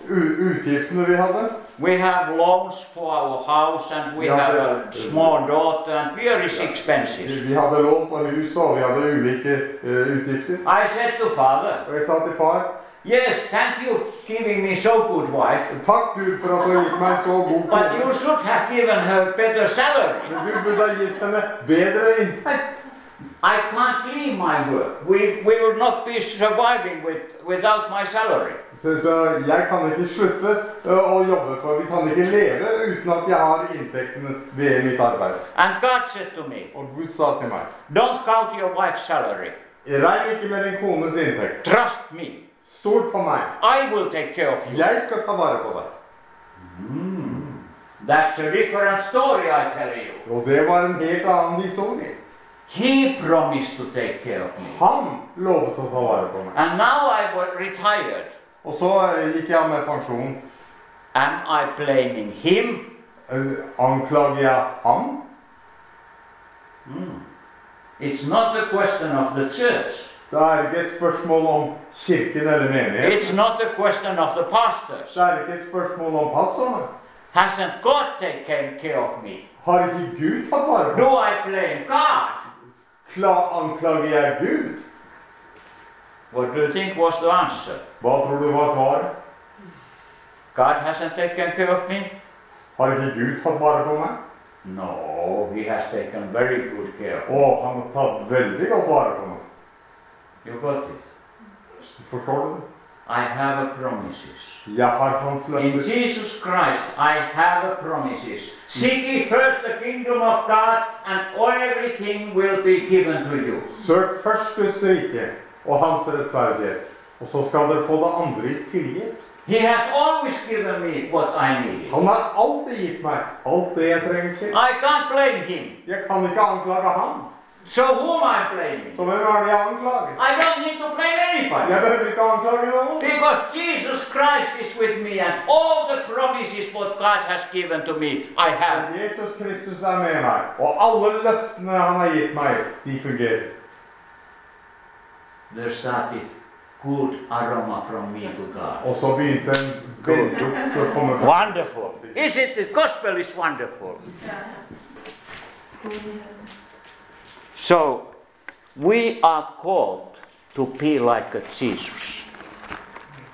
Speaker 1: u- utgiftene vi hadde.
Speaker 2: We have loans for our house and we
Speaker 1: Yeah,
Speaker 2: have a
Speaker 1: yeah.
Speaker 2: small daughter and here is
Speaker 1: Vi,
Speaker 2: expenses.
Speaker 1: vi hadde lån på hus, og vi hadde ulike eh, utgifter.
Speaker 2: I said to father,
Speaker 1: Og jeg sa til far
Speaker 2: yes, thank you for giving me so good wife,
Speaker 1: Takk, Gud, for at du har gitt meg en så god
Speaker 2: but you
Speaker 1: kone.
Speaker 2: should have given her better salary.
Speaker 1: Men du burde ha gitt henne bedre inntekt.
Speaker 2: I can't leave my work. We, we will not be surviving with, without my salary.
Speaker 1: Så, så jeg kan ikke slutte ø, å jobbe, for vi kan ikke leve uten at jeg har inntektene ved mitt arbeid.
Speaker 2: And God said to me,
Speaker 1: Og Gud sa til meg
Speaker 2: don't count your wife's salary.
Speaker 1: Regn ikke med din kones inntekt.
Speaker 2: Trust me.
Speaker 1: Stort på meg.
Speaker 2: I will take care of you.
Speaker 1: Jeg skal ta vare på deg.
Speaker 2: That's a different story, I tell you.
Speaker 1: Og det var en helt annen historie.
Speaker 2: He promised to take care of me.
Speaker 1: Han lovet å ta vare på meg.
Speaker 2: And now I was retired.
Speaker 1: Og så ø, gikk jeg av med pensjon.
Speaker 2: Am I blaming him?
Speaker 1: Ø, Eh, Anklager jeg ham?
Speaker 2: It's not a question of the church.
Speaker 1: Det er ikke et spørsmål om kirken eller menighet.
Speaker 2: It's not a question of the pastors.
Speaker 1: Det er ikke et spørsmål om pastorene.
Speaker 2: Hasn't God taken care of me?
Speaker 1: Har ikke Gud tatt vare på
Speaker 2: Do I blame God?
Speaker 1: Kla Anklager jeg Gud?
Speaker 2: What do you think was the answer?
Speaker 1: Hva tror du var svaret?
Speaker 2: God hasn't taken care of me?
Speaker 1: Har ikke Gud tatt vare på meg?
Speaker 2: No, he has taken very good care.
Speaker 1: Å, han har tatt veldig godt vare på meg.
Speaker 2: You got it.
Speaker 1: Forstår du? det?
Speaker 2: I have a promises.
Speaker 1: Jeg har hans
Speaker 2: In
Speaker 1: løfter.
Speaker 2: Jesus Christ, I have a promises. Seek ye first the kingdom of God, and all everything will be given to you.
Speaker 1: Søk først Guds rike og hans rettferdighet, og så skal dere få det andre i tilgitt.
Speaker 2: He has always given me what I needed.
Speaker 1: Han har alltid gitt meg alt det jeg trenger til.
Speaker 2: I can't blame him.
Speaker 1: Jeg kan ikke anklage ham.
Speaker 2: So whom I'm blaming?
Speaker 1: Så hvem er det jeg anklager?
Speaker 2: I don't need to blame anybody.
Speaker 1: Jeg behøver ikke anklage noen.
Speaker 2: Because Jesus Christ is with me and all the promises what God has given to me, I have.
Speaker 1: Jesus Kristus er med meg, og alle løftene han har gitt meg, de fungerer.
Speaker 2: There started good aroma from me to God.
Speaker 1: Og så begynte en vellukt å komme fram.
Speaker 2: Wonderful. Is it? The gospel is wonderful. So, we are called to be like a Jesus.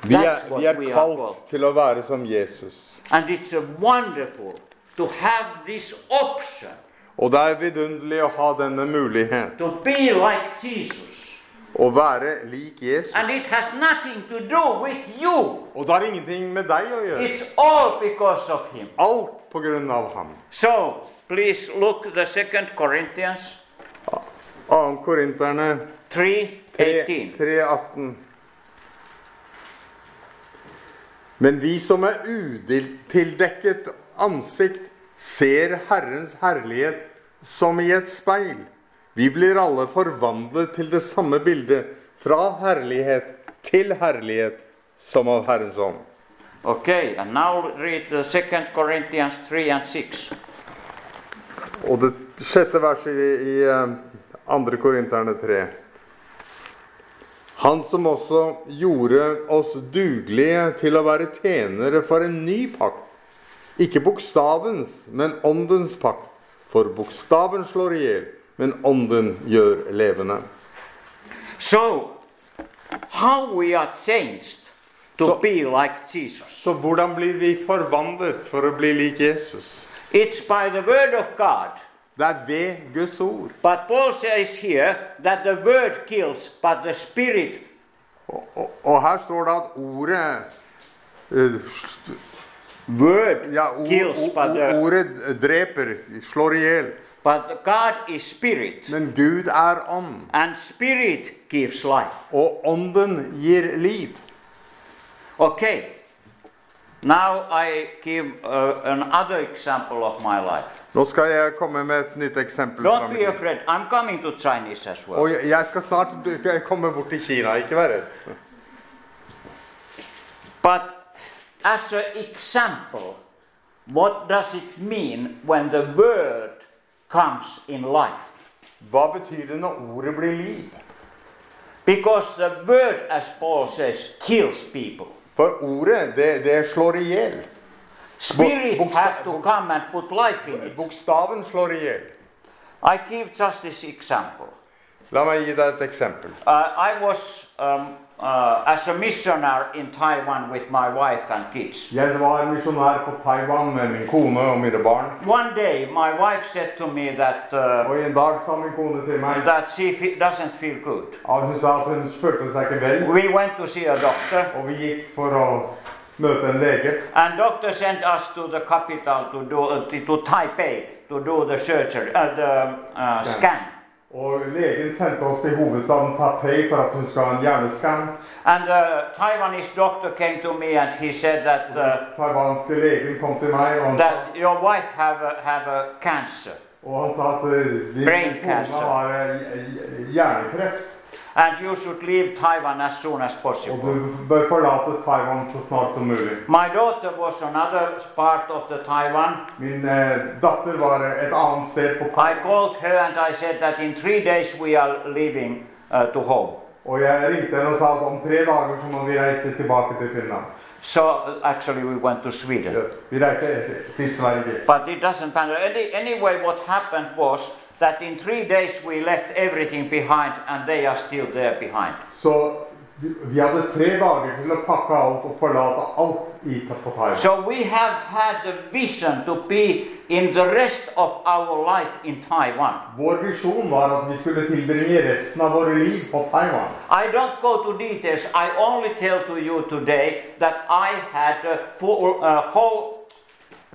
Speaker 1: Vi er,
Speaker 2: That's what
Speaker 1: vi er
Speaker 2: we are
Speaker 1: kalt
Speaker 2: called.
Speaker 1: til å være som Jesus.
Speaker 2: And it's a wonderful to have this option
Speaker 1: Og det er vidunderlig å ha denne mulighet.
Speaker 2: to be like Jesus.
Speaker 1: Å være lik Jesus.
Speaker 2: And it has nothing to do with you.
Speaker 1: Og det har ingenting med deg å gjøre.
Speaker 2: It's all because of him.
Speaker 1: Alt på grunn av ham.
Speaker 2: So please look the second Corinthians
Speaker 1: 2. Korinterne
Speaker 2: 3
Speaker 1: 3, 3,18. Men vi som er utildekket ansikt, ser Herrens herlighet som i et speil. Vi blir alle forvandlet til det samme bildet, fra herlighet til herlighet, som av Herrens ånd.
Speaker 2: Okay, and now read the second Corinthians 3 and 6.
Speaker 1: Og det sjette verset i, i eh, andre Korinterne 3. Han som også gjorde oss dugelige til å være tjenere for en ny pakt. Ikke bokstavens, men åndens pakt. For bokstaven slår i hjel, men ånden gjør levende.
Speaker 2: So, how we are changed to
Speaker 1: So-
Speaker 2: be like Jesus?
Speaker 1: Så hvordan blir vi forvandlet for å bli lik Jesus?
Speaker 2: It's by the word of God.
Speaker 1: Det er ved Guds ord.
Speaker 2: But Paul says here that the word kills, but the spirit
Speaker 1: Og, og, og her står det at ordet eh,
Speaker 2: word
Speaker 1: Ja, o-
Speaker 2: kills,
Speaker 1: o-
Speaker 2: but,
Speaker 1: o-
Speaker 2: the,
Speaker 1: ordet dreper, slår i hjel.
Speaker 2: but the God is spirit,
Speaker 1: Men Gud er ånd,
Speaker 2: and spirit gives life.
Speaker 1: og ånden gir liv.
Speaker 2: Okay. Now I give uh, another example of my life.
Speaker 1: Nå skal jeg komme med et nytt eksempel. fra
Speaker 2: Don't
Speaker 1: mitt
Speaker 2: be
Speaker 1: liv.
Speaker 2: afraid. I'm coming to Chinese as well.
Speaker 1: Og jeg- jeg skal snart du- jeg komme bort til Kina, ikke vær redd.
Speaker 2: But as an example, what does it mean when the word comes in life?
Speaker 1: Hva betyr det når ordet blir liv?
Speaker 2: Because the word, as Paul says, kills people.
Speaker 1: For ordet, det, det slår i hjel.
Speaker 2: Spirit
Speaker 1: books-
Speaker 2: have to come and put life in it.
Speaker 1: Bokstaven slår i hjel.
Speaker 2: I give just this example.
Speaker 1: La meg gi deg et eksempel.
Speaker 2: Uh, I was um, uh, as a missionary in Taiwan with my wife and kids.
Speaker 1: Jeg var misjonær på Taiwan med min kone og mine barn.
Speaker 2: One day, my wife said to me that uh,
Speaker 1: Og en dag sa min kone til meg
Speaker 2: that she fe- doesn't feel good.
Speaker 1: at hun sa at hun følte seg ikke vel.
Speaker 2: We went to see a doctor.
Speaker 1: Og vi gikk for å møte en lege.
Speaker 2: And doctor sent us to the capital to do uh, to to Taipei to do the surgery, uh, the uh,
Speaker 1: Scan.
Speaker 2: scan.
Speaker 1: Og legen sendte oss til hovedstaden Taipei for at hun skal ha en hjerneskann.
Speaker 2: And the Taiwanese doctor came to me and he said that uh,
Speaker 1: Taiwanske legen kom til meg, og,
Speaker 2: that your wife have a, have a cancer,
Speaker 1: og han sa at eh, din
Speaker 2: Brain
Speaker 1: kone
Speaker 2: cancer.
Speaker 1: har eh, hjernekreft.
Speaker 2: and you should leave Taiwan as soon as
Speaker 1: Og
Speaker 2: possible.
Speaker 1: du bør forlate Taiwan så snart som mulig.
Speaker 2: My daughter was another part of the Taiwan.
Speaker 1: Min eh, datter var et annet sted på
Speaker 2: I called her and I said that in three days we are leaving uh, to home.
Speaker 1: Og jeg ringte henne og sa at om tre dager så må vi reise tilbake til Finland.
Speaker 2: So uh, actually we went to Sweden.
Speaker 1: Ja, Vi reiser til Sverige.
Speaker 2: But it doesn't matter. Any, anyway, what happened was that in three days we left everything behind and they are still there behind.
Speaker 1: Så vi vi hadde tre dager til å pakke alt og forlate alt i, på Thailand.
Speaker 2: So we have had the vision to be in the rest of our life in Taiwan.
Speaker 1: Vår visjon var at vi skulle tilbringe resten av våre liv på Taiwan.
Speaker 2: I don't go to details, I only tell to you today that I had a full, uh, whole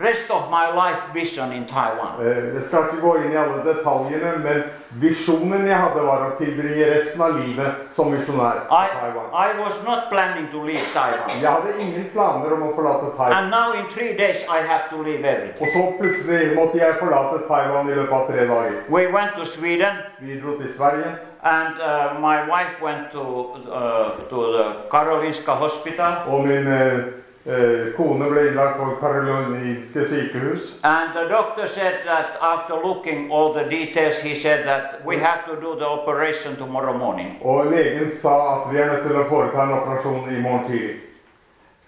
Speaker 2: rest of my life vision in Taiwan.
Speaker 1: Eh, Jeg skal ikke gå inn i alle detaljene, men visjonen jeg hadde, var å tilbringe resten av livet som misjonær på
Speaker 2: I,
Speaker 1: Taiwan.
Speaker 2: I was not planning to leave Taiwan.
Speaker 1: Jeg hadde ingen planer om å forlate Taiwan.
Speaker 2: And now in three days I have to leave everything.
Speaker 1: Og så plutselig måtte jeg forlate Taiwan i løpet av tre dager.
Speaker 2: We went to Sweden.
Speaker 1: Vi dro til Sverige.
Speaker 2: And uh, my wife went to, uh, to the Karolinska hospital,
Speaker 1: Og min eh, eh, kone ble innlagt på Karolinske sykehus.
Speaker 2: and the doctor said that after looking all the details, he said that we have to do the operation tomorrow morning.
Speaker 1: Og legen sa at vi er nødt til å foreta en operasjon i morgen tidlig.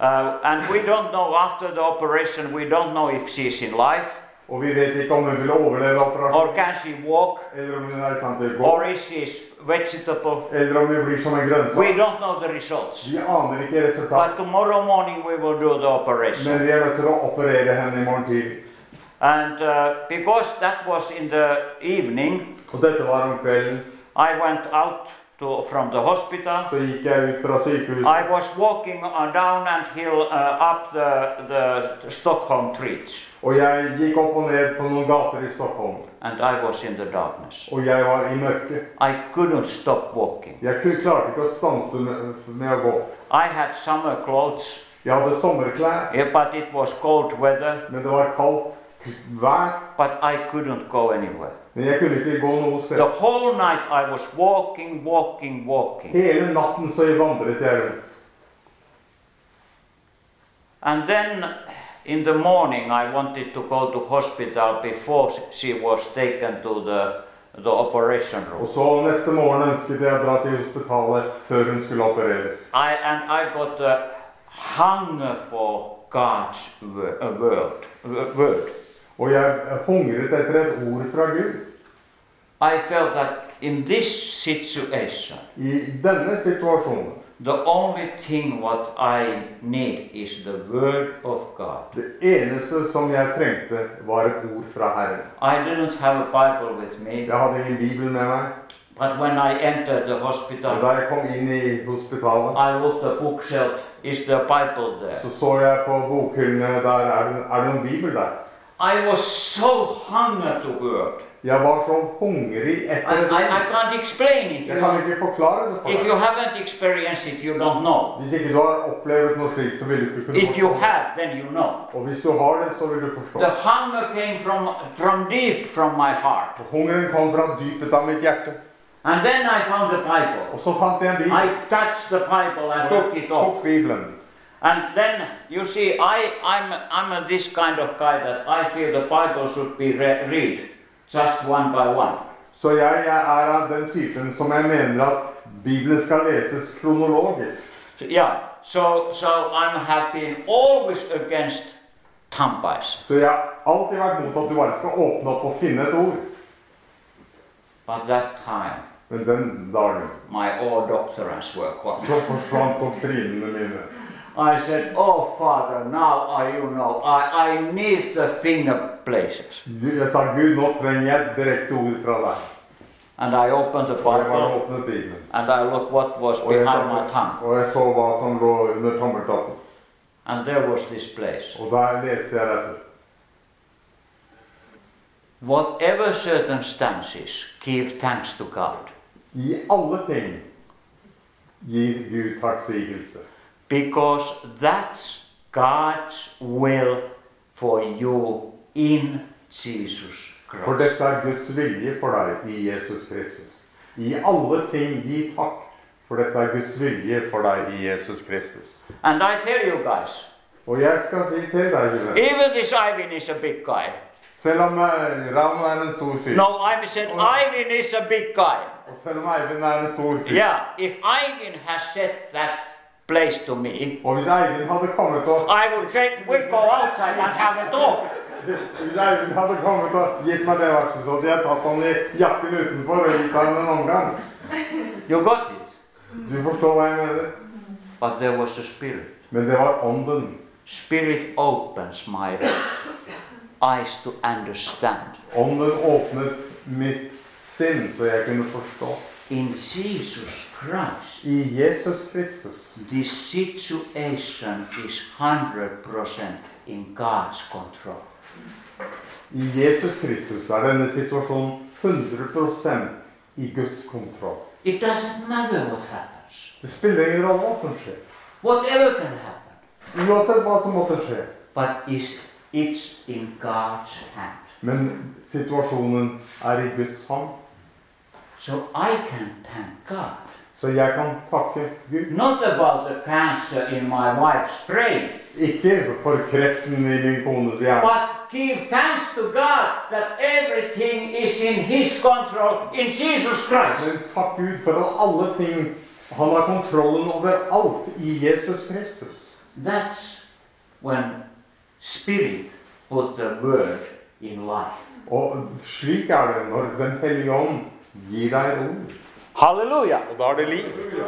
Speaker 2: Uh, and we don't know after the operation, we don't know if she's in life,
Speaker 1: Og vi vet ikke om hun vil overleve operasjonen,
Speaker 2: or can she walk,
Speaker 1: eller om hun er i stand til å gå,
Speaker 2: or is she vegetable.
Speaker 1: eller om hun blir som en grønnsak.
Speaker 2: We don't know the results.
Speaker 1: Vi aner ikke resultatet,
Speaker 2: But tomorrow morning we will do the operation.
Speaker 1: men vi er nødt til å operere henne i morgen tidlig.
Speaker 2: And uh, because that was in the evening,
Speaker 1: Og dette var om kvelden.
Speaker 2: I went out to, from the hospital.
Speaker 1: Så gikk jeg ut fra sykehuset.
Speaker 2: I was walking uh, down and hill uh, up the, the Stockholm streets,
Speaker 1: Og jeg gikk opp og ned på noen gater i Stockholm.
Speaker 2: and I was in the darkness.
Speaker 1: Og jeg var i mørket.
Speaker 2: I couldn't stop walking.
Speaker 1: Jeg ku- klarte ikke å stanse med, med å gå.
Speaker 2: I had summer clothes,
Speaker 1: Jeg hadde sommerklær,
Speaker 2: eh, but it was cold weather,
Speaker 1: men det var kaldt vær.
Speaker 2: but I couldn't go anywhere.
Speaker 1: Men jeg kunne ikke gå noe
Speaker 2: The
Speaker 1: sted.
Speaker 2: whole night I was walking, walking, walking.
Speaker 1: Hele natten så vandret jeg rundt.
Speaker 2: And then in the morning I wanted to go to hospital before she was taken to the, the operation
Speaker 1: Og
Speaker 2: room.
Speaker 1: så neste morgen ønsket jeg å dra til hospitalet før hun skulle opereres.
Speaker 2: I, and I got a hunger for God's wo- uh, word, wo- word.
Speaker 1: Og jeg hungret etter et ord fra Gud.
Speaker 2: I felt that in this situation,
Speaker 1: I denne situasjonen
Speaker 2: the only thing what I need is the word of God.
Speaker 1: Det eneste som jeg trengte, var et ord fra Herren.
Speaker 2: I didn't have a Bible with me,
Speaker 1: Jeg hadde ingen bibel med meg.
Speaker 2: but when I entered the
Speaker 1: Og
Speaker 2: hospital,
Speaker 1: da jeg kom inn i hospitalet,
Speaker 2: I looked at the bookshelf. Is the Bible there?
Speaker 1: så så jeg på bokhyllene der er det, er det noen bibel der.
Speaker 2: I was so hunger to word.
Speaker 1: Jeg var så hungrig
Speaker 2: I,
Speaker 1: etter et
Speaker 2: I, I
Speaker 1: ord.
Speaker 2: can't explain it.
Speaker 1: Jeg kan ikke forklare det
Speaker 2: If
Speaker 1: for
Speaker 2: you
Speaker 1: deg.
Speaker 2: haven't experienced it, you don't know.
Speaker 1: Hvis ikke du har oppleved noe slikt, så vil du ikke kunne
Speaker 2: If you
Speaker 1: forstå. det.
Speaker 2: have, then you know.
Speaker 1: Og hvis du har det, så vil du
Speaker 2: The
Speaker 1: forstå.
Speaker 2: hunger came from, from deep from my heart.
Speaker 1: Hungeren kom fra dypet av mitt hjerte.
Speaker 2: And then I found the Bible.
Speaker 1: Og så fant jeg en bibel.
Speaker 2: I touched the Bible and
Speaker 1: Og
Speaker 2: took
Speaker 1: jeg
Speaker 2: it
Speaker 1: tok
Speaker 2: off.
Speaker 1: bibelen.
Speaker 2: And then, you see, I, I'm, I'm a, this kind of guy that I feel the Bible should be re- read just one by one.
Speaker 1: Så jeg, jeg er av den typen som jeg mener at Bibelen skal leses kronologisk.
Speaker 2: So, yeah, so, so I have been always against tampais.
Speaker 1: Så jeg har alltid vært mot at du bare skal åpne opp og finne et ord.
Speaker 2: But that time,
Speaker 1: Men den dagen
Speaker 2: my old doctorants were caught.
Speaker 1: så forsvant doktrinene mine.
Speaker 2: I said, Oh, Father, now I, you know, I, I need the finger places.
Speaker 1: Gud- Jeg sa Gud, nå trenger jeg et direkte ord fra deg.
Speaker 2: And I opened the
Speaker 1: Og jeg bare
Speaker 2: Bible
Speaker 1: åpnet Bibelen.
Speaker 2: and I looked what was
Speaker 1: Og jeg,
Speaker 2: behind my
Speaker 1: så,
Speaker 2: tongue.
Speaker 1: og jeg så hva som lå under tommeltotten.
Speaker 2: And there was this place.
Speaker 1: Og der leste jeg dette.
Speaker 2: Whatever circumstances, give thanks to God.
Speaker 1: I alle ting gir Gud takksigelse.
Speaker 2: Because that's God's will for you in Jesus
Speaker 1: For
Speaker 2: Christ.
Speaker 1: dette er Guds vilje for deg i Jesus Kristus. I alle ting gi takk, for dette er Guds vilje for deg i Jesus Kristus.
Speaker 2: And I tell you guys,
Speaker 1: Og jeg skal si til deg, Julen,
Speaker 2: even this Ivan is a big guy.
Speaker 1: selv om eh, Ram er en stor fyr,
Speaker 2: No, I said Ivan is a big guy.
Speaker 1: og selv om Eivind er en stor fyr,
Speaker 2: Yeah, if Ivan has said that place to me,
Speaker 1: og hvis Eivind hadde kommet og
Speaker 2: I would say we go outside and have a talk.
Speaker 1: hvis Eivind hadde kommet og gitt meg det verset, så hadde jeg tatt han i jakken utenfor og gitt han en omgang.
Speaker 2: You got it.
Speaker 1: Du forstår hva jeg mener?
Speaker 2: But there was a spirit.
Speaker 1: Men det var ånden.
Speaker 2: Spirit opens my eyes to understand.
Speaker 1: Ånden åpnet mitt sinn, så jeg kunne forstå.
Speaker 2: In Jesus Christ.
Speaker 1: I Jesus Kristus.
Speaker 2: This situation is 100% in God's control.
Speaker 1: I Jesus Kristus er denne situasjonen 100 i Guds kontroll.
Speaker 2: It doesn't matter what happens.
Speaker 1: Det spiller ingen rolle hva som skjer.
Speaker 2: Whatever can happen.
Speaker 1: Uansett hva som måtte skje.
Speaker 2: But it's, it's in God's hand.
Speaker 1: Men situasjonen er i Guds hånd,
Speaker 2: So I can thank God.
Speaker 1: så jeg kan takke Gud.
Speaker 2: Not about the cancer in my wife's brain,
Speaker 1: Ikke for kreften i min kones hjerne,
Speaker 2: but give thanks to God that everything is in His control in Jesus Christ.
Speaker 1: men takk Gud for at alle ting Han har kontrollen over alt i Jesus Kristus.
Speaker 2: That's when Spirit put the word in life.
Speaker 1: Og slik er det når Den hellige ånd gir deg ord.
Speaker 2: Hallelujah.
Speaker 1: Og da er det liv.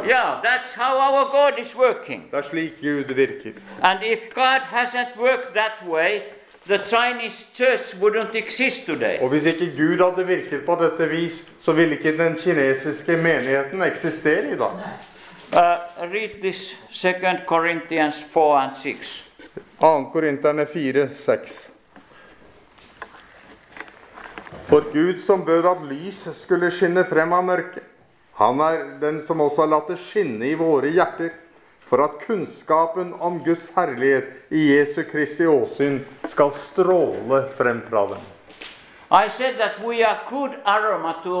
Speaker 2: Yeah, that's how our God is working.
Speaker 1: Det er slik Gud virker.
Speaker 2: And if God hasn't worked that way, the Chinese church wouldn't exist today.
Speaker 1: Og hvis ikke Gud hadde virket på dette vis, så ville ikke den kinesiske menigheten eksistere i dag.
Speaker 2: Uh, read this 2 Corinthians 4 and 6.
Speaker 1: 2. Korinterne 4, 6. For Gud som bød at lys skulle skinne frem av mørket, han er den som også har latt det skinne i våre hjerter, for at kunnskapen om Guds herlighet i Jesu Kristi åsyn skal stråle frem fra dem.
Speaker 2: I said that we are good aroma to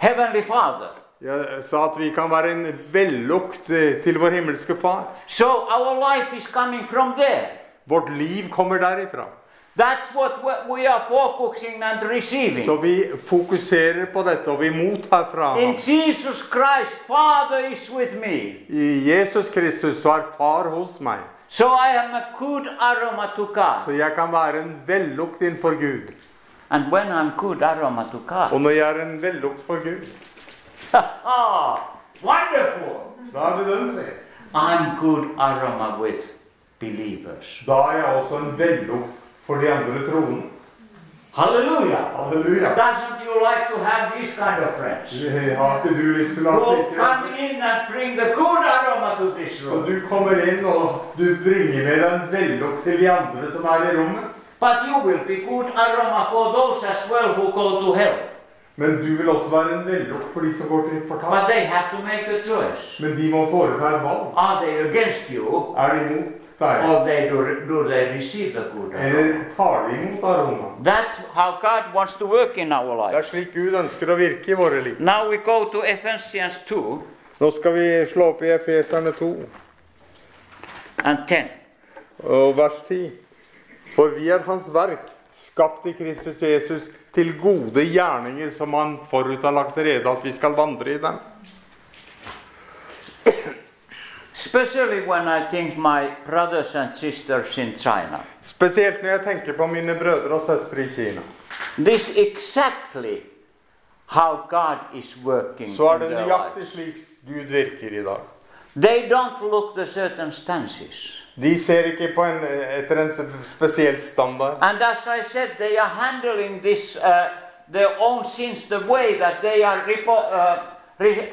Speaker 2: Heavenly Father.
Speaker 1: Jeg sa at vi kan være en vellukt eh, til vår himmelske Far.
Speaker 2: So our life is coming from there.
Speaker 1: Vårt liv kommer derifra.
Speaker 2: That's what we- we are focusing and
Speaker 1: Så
Speaker 2: receiving.
Speaker 1: vi fokuserer på dette, og vi mottar fra
Speaker 2: In
Speaker 1: ham.
Speaker 2: Jesus Christ, Father is with me.
Speaker 1: I Jesus Kristus så er Far hos meg.
Speaker 2: So I am a good aroma to God.
Speaker 1: Så jeg kan være en vellukt innenfor Gud.
Speaker 2: And when I'm good aroma to
Speaker 1: Og
Speaker 2: God,
Speaker 1: når jeg er en vellukt for Gud,
Speaker 2: ah, wonderful!
Speaker 1: da er vidunderlig.
Speaker 2: I'm good aroma with believers.
Speaker 1: Da er jeg også en vellukt for de andre troende.
Speaker 2: Hallelujah!
Speaker 1: Halleluja.
Speaker 2: Doesn't you like to have these kind of friends?
Speaker 1: Har ikke du lyst til
Speaker 2: Who
Speaker 1: at
Speaker 2: will
Speaker 1: ikke
Speaker 2: come in and bring the good aroma to this
Speaker 1: Så
Speaker 2: room.
Speaker 1: du kommer inn, og du bringer med deg en vellukt til de andre som er i rommet.
Speaker 2: But you will be good aroma for those as well who go to hell.
Speaker 1: Men du vil også være en vellukt for de som går til
Speaker 2: But
Speaker 1: fortap.
Speaker 2: they have to make a choice.
Speaker 1: Men de må foreta et valg.
Speaker 2: Are they against you,
Speaker 1: Er de imot deg?
Speaker 2: or they do, do they receive the good
Speaker 1: Eller
Speaker 2: aroma?
Speaker 1: tar de imot aroma?
Speaker 2: That's how God wants to work in our
Speaker 1: Det er
Speaker 2: life.
Speaker 1: slik Gud ønsker å virke i våre liv.
Speaker 2: Now we go to Ephesians 2
Speaker 1: Nå skal vi slå opp i Efeserne 2
Speaker 2: and 10.
Speaker 1: og vers 10. For vi er Hans verk, skapt i Kristus Jesus, til gode gjerninger som Han forut har lagt rede at vi skal vandre i dem.
Speaker 2: Especially when I think my brothers and sisters in China.
Speaker 1: Spesielt når jeg tenker på mine brødre og søstre i Kina,
Speaker 2: This exactly how God is working
Speaker 1: så er
Speaker 2: in
Speaker 1: det
Speaker 2: their
Speaker 1: nøyaktig
Speaker 2: lives.
Speaker 1: slik Gud virker i dag.
Speaker 2: They don't look the circumstances.
Speaker 1: De ser ikke på en, etter en spesiell standard.
Speaker 2: And as I said, they are handling this, uh, their own sins, the way that they are, repo- uh, re-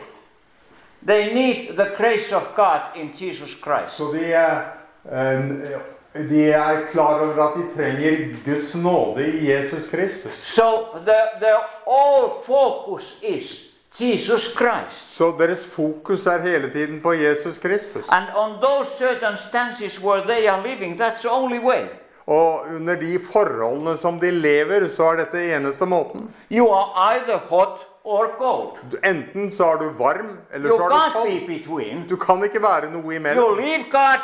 Speaker 2: they need the grace of God in Jesus Christ.
Speaker 1: Så de, eh, de er klar over at de trenger Guds nåde i Jesus Kristus.
Speaker 2: So the, their all focus is Jesus Christ.
Speaker 1: Så deres fokus er hele tiden på Jesus Kristus.
Speaker 2: And on those circumstances where they are living, that's the only way.
Speaker 1: Og under de forholdene som de lever, så er dette eneste måten.
Speaker 2: You are either hot or cold.
Speaker 1: Du- Enten så er du varm, eller
Speaker 2: You
Speaker 1: så er du
Speaker 2: can't
Speaker 1: kald.
Speaker 2: be between.
Speaker 1: Du kan ikke være noe imellom.
Speaker 2: You leave God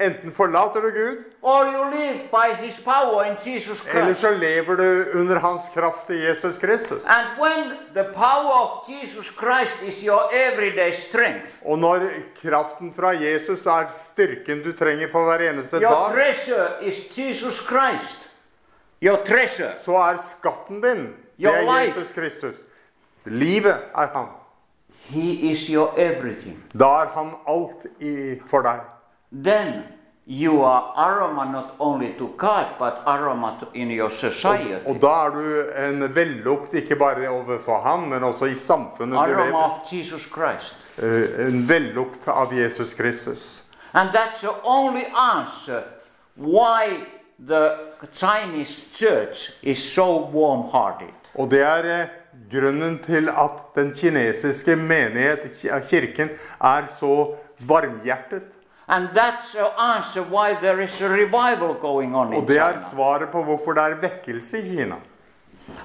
Speaker 1: Enten forlater du Gud,
Speaker 2: or you live by His power in Jesus
Speaker 1: eller
Speaker 2: Christ.
Speaker 1: så lever du under hans kraft i Jesus Kristus.
Speaker 2: And when the power of Jesus Christ is your everyday strength,
Speaker 1: Og når kraften fra Jesus er styrken du trenger for hver eneste
Speaker 2: your
Speaker 1: dag,
Speaker 2: treasure is Jesus Christ. Your treasure.
Speaker 1: så er skatten din Det
Speaker 2: Your
Speaker 1: er
Speaker 2: life.
Speaker 1: Jesus Kristus. Livet er han.
Speaker 2: He is your everything.
Speaker 1: Da er han alt i, for deg.
Speaker 2: Then you are aroma not only to God, but aroma to, in your society.
Speaker 1: Og da er du en vellukt ikke bare overfor han, men også i samfunnet du
Speaker 2: aroma
Speaker 1: lever.
Speaker 2: of Jesus Christ.
Speaker 1: Eh, En vellukt av Jesus Kristus.
Speaker 2: And that's the only answer why the Chinese church is so warm hearted.
Speaker 1: Og det er eh, grunnen til at den kinesiske menighet, ki- eh, kirken, er så varmhjertet.
Speaker 2: And that's the answer why there is a revival going on
Speaker 1: Og
Speaker 2: in
Speaker 1: det er
Speaker 2: China.
Speaker 1: svaret på hvorfor det er vekkelse i Kina.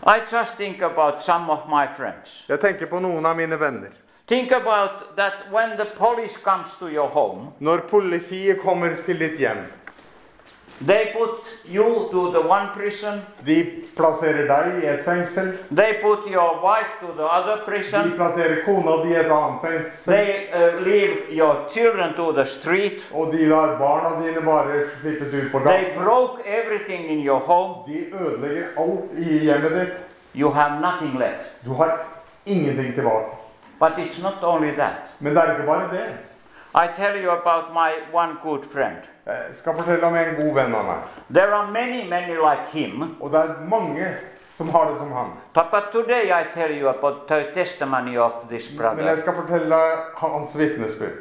Speaker 2: I just think about some of my friends.
Speaker 1: Jeg tenker på noen av mine venner.
Speaker 2: Think about that when the police comes to your home,
Speaker 1: Når politiet kommer til ditt hjem,
Speaker 2: they put you to the one prison,
Speaker 1: de plasserer deg i et fengsel,
Speaker 2: they put your wife to the other
Speaker 1: de
Speaker 2: prison,
Speaker 1: plasserer kona di i et annet fengsel,
Speaker 2: they uh, leave your children to the street,
Speaker 1: og de lar barna dine bare slippes ut på
Speaker 2: they
Speaker 1: gaten.
Speaker 2: broke everything in your home.
Speaker 1: De ødelegger alt i hjemmet ditt.
Speaker 2: You have nothing left.
Speaker 1: Du har ingenting tilbake.
Speaker 2: But it's not only that.
Speaker 1: Men det er ikke bare det.
Speaker 2: I tell you about my one good friend.
Speaker 1: Jeg skal fortelle om en god venn av meg.
Speaker 2: There are many, many like him,
Speaker 1: Og det er mange som har det som han.
Speaker 2: but, but today I tell you about the testimony of this
Speaker 1: Men jeg
Speaker 2: brother.
Speaker 1: skal fortelle hans vitnesbyrd.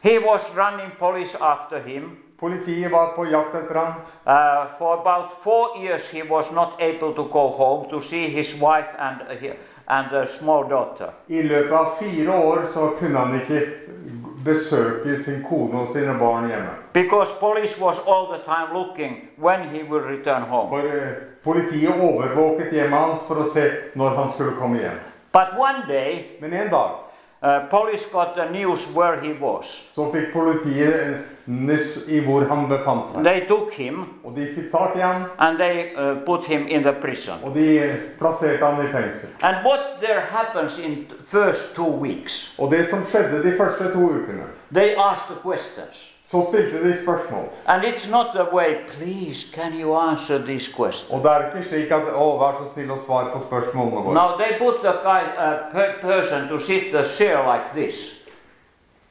Speaker 2: He was running police after him.
Speaker 1: Politiet var på jakt etter ham.
Speaker 2: Uh, for about four years, he was not able to go home to see his wife and, uh, he- and a small daughter.
Speaker 1: I løpet av fire år så kunne han ikke besøke sin kone og sine barn hjemme.
Speaker 2: Because police was all the time looking when he will return home.
Speaker 1: For eh, politiet overvåket hjemmet hans for å se når han skulle komme hjem.
Speaker 2: But one day,
Speaker 1: Men en dag
Speaker 2: uh, police got the news where he was.
Speaker 1: så fikk politiet en nyss i hvor han befant seg.
Speaker 2: They took him
Speaker 1: Og de fikk tak i ham,
Speaker 2: and they uh, put him in the prison.
Speaker 1: og de plasserte ham i fengsel.
Speaker 2: And what there happens in the first two weeks?
Speaker 1: Og det som skjedde de første to ukene,
Speaker 2: They ask the questions.
Speaker 1: så stilte de spørsmål.
Speaker 2: And it's not the way, please, can you answer these questions?
Speaker 1: Og det er ikke slik at 'Å, vær så snill og svar på spørsmålene våre'.
Speaker 2: Now they put the guy, uh, per- person to sit the chair like this.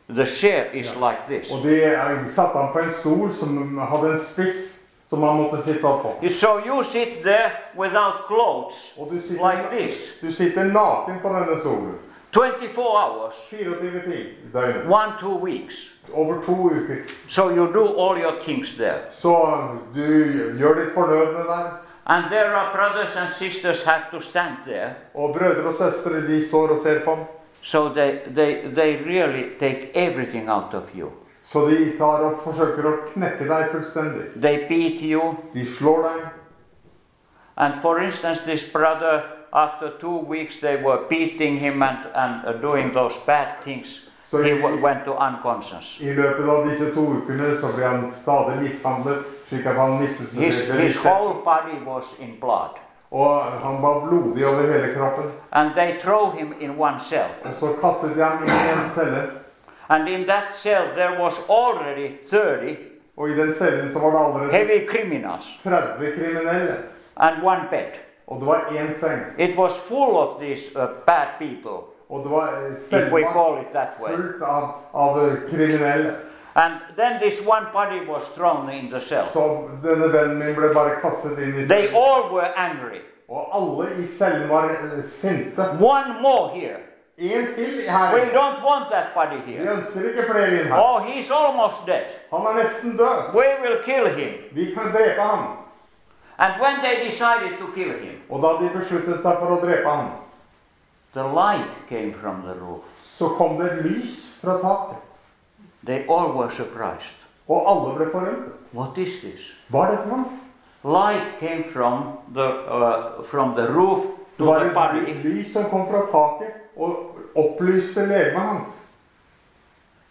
Speaker 2: The chair is like this.
Speaker 1: Og de eh, satte ham på en stol som hadde en spiss som han måtte sitte oppå.
Speaker 2: You- So you sit there without clothes,
Speaker 1: Og du sitter,
Speaker 2: like this,
Speaker 1: du sitter naken på denne stolen.
Speaker 2: 24 hours,
Speaker 1: 24 timer i døgnet.
Speaker 2: one, two weeks.
Speaker 1: Over to uker.
Speaker 2: So you do all your things there.
Speaker 1: Så du gjør ditt fornødne der.
Speaker 2: And there are brothers and sisters have to stand there.
Speaker 1: Og brødre og søstre de står og ser på ham.
Speaker 2: So they, they, they really take everything out of you.
Speaker 1: Så de tar og forsøker å knekke deg fullstendig.
Speaker 2: They beat you.
Speaker 1: De slår deg.
Speaker 2: And for instance, this brother, after two weeks, they were beating him and, and uh, doing those bad things.
Speaker 1: So
Speaker 2: he
Speaker 1: you-
Speaker 2: w- went to unconscious.
Speaker 1: I løpet av disse to ukene så ble han stadig mishandlet, slik at han mistet
Speaker 2: His, his
Speaker 1: bevisstheten.
Speaker 2: whole body was in blood.
Speaker 1: Og han var blodig over hele kroppen.
Speaker 2: And they throw him in one cell.
Speaker 1: Og så kastet de ham inn i en celle.
Speaker 2: And in that cell, there was already 30
Speaker 1: Og i den cellen så var det allerede
Speaker 2: heavy criminals
Speaker 1: 30 kriminelle.
Speaker 2: and one bed.
Speaker 1: Og det var én seng.
Speaker 2: It was full of these uh, bad people,
Speaker 1: Og det var eh,
Speaker 2: if we
Speaker 1: selva
Speaker 2: call it that way.
Speaker 1: fullt av, av eh, kriminelle.
Speaker 2: And then this one body was thrown in the cell.
Speaker 1: Så denne vennen min ble bare kastet inn i
Speaker 2: They all were angry.
Speaker 1: Og alle i cellen var eh, sinte.
Speaker 2: One more here.
Speaker 1: En til
Speaker 2: We
Speaker 1: her.
Speaker 2: don't want that body
Speaker 1: Vi
Speaker 2: here.
Speaker 1: ønsker ikke flere inn her.
Speaker 2: Oh, he's almost dead.
Speaker 1: Han er nesten død.
Speaker 2: We will kill him.
Speaker 1: Vi kan drepe ham.
Speaker 2: And when they decided to kill him,
Speaker 1: Og da de besluttet seg for å drepe ham,
Speaker 2: the light came from the roof.
Speaker 1: så kom det lys fra taket.
Speaker 2: They all were surprised.
Speaker 1: Og alle ble forundret.
Speaker 2: What is this?
Speaker 1: Hva er dette for noe?
Speaker 2: Light came from the uh, from the roof to
Speaker 1: Det var
Speaker 2: the body.
Speaker 1: et lys som kom fra taket og opplyste legemet hans.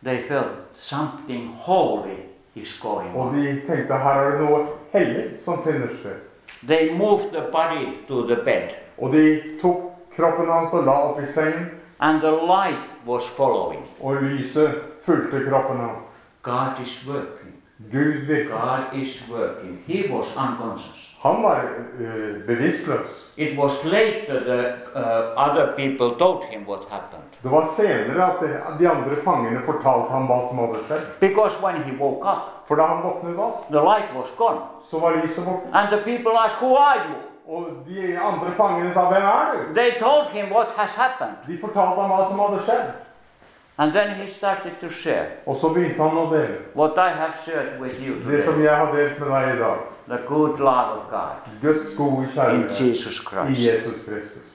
Speaker 2: They felt something holy is going on.
Speaker 1: Og de tenkte her er det noe hellig som finner sted.
Speaker 2: They moved the body to the bed,
Speaker 1: Og de tok kroppen hans og la opp i sengen,
Speaker 2: and the light was following.
Speaker 1: og lyset fulgte kroppen hans.
Speaker 2: God is working.
Speaker 1: Gud virka.
Speaker 2: God is working. He was unconscious.
Speaker 1: Han var eh, bevisstløs.
Speaker 2: It was later the uh, other people told him what happened.
Speaker 1: Det var senere at de, at de andre fangene fortalte ham hva som hadde skjedd.
Speaker 2: Because when he woke up,
Speaker 1: For da han våknet opp,
Speaker 2: the light was gone.
Speaker 1: så var lyset borte.
Speaker 2: And the people asked, Who are you?
Speaker 1: Og de andre fangene sa 'Hvem er du?'
Speaker 2: They told him what has happened.
Speaker 1: De fortalte ham hva som hadde skjedd.
Speaker 2: And then he started to share
Speaker 1: Og så begynte han å dele.
Speaker 2: what I have shared with you
Speaker 1: Det
Speaker 2: today
Speaker 1: som jeg har delt med deg i dag.
Speaker 2: the good love of God
Speaker 1: Guds gode
Speaker 2: in
Speaker 1: kjærlighet
Speaker 2: Jesus
Speaker 1: i
Speaker 2: Christ.
Speaker 1: Jesus Kristus.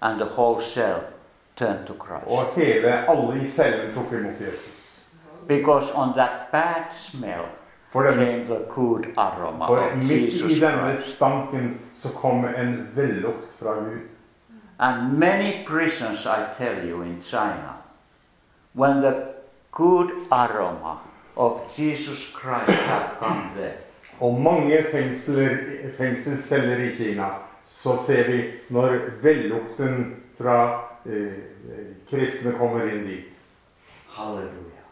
Speaker 2: And the whole cell turned to Christ.
Speaker 1: Og hele, alle i cellen tok imot Jesus.
Speaker 2: Because on that bad smell
Speaker 1: For, denne,
Speaker 2: came the good aroma
Speaker 1: for
Speaker 2: of
Speaker 1: midt i
Speaker 2: Jesus
Speaker 1: denne
Speaker 2: Christ.
Speaker 1: stanken så kom en vellukt fra Gud.
Speaker 2: And many prisons, I tell you, in China, when the good aroma of Jesus Christ have come there,
Speaker 1: Og mange fengsler, fengselsceller i Kina så ser vi når vellukten fra eh, kristne kommer inn dit.
Speaker 2: hallelujah,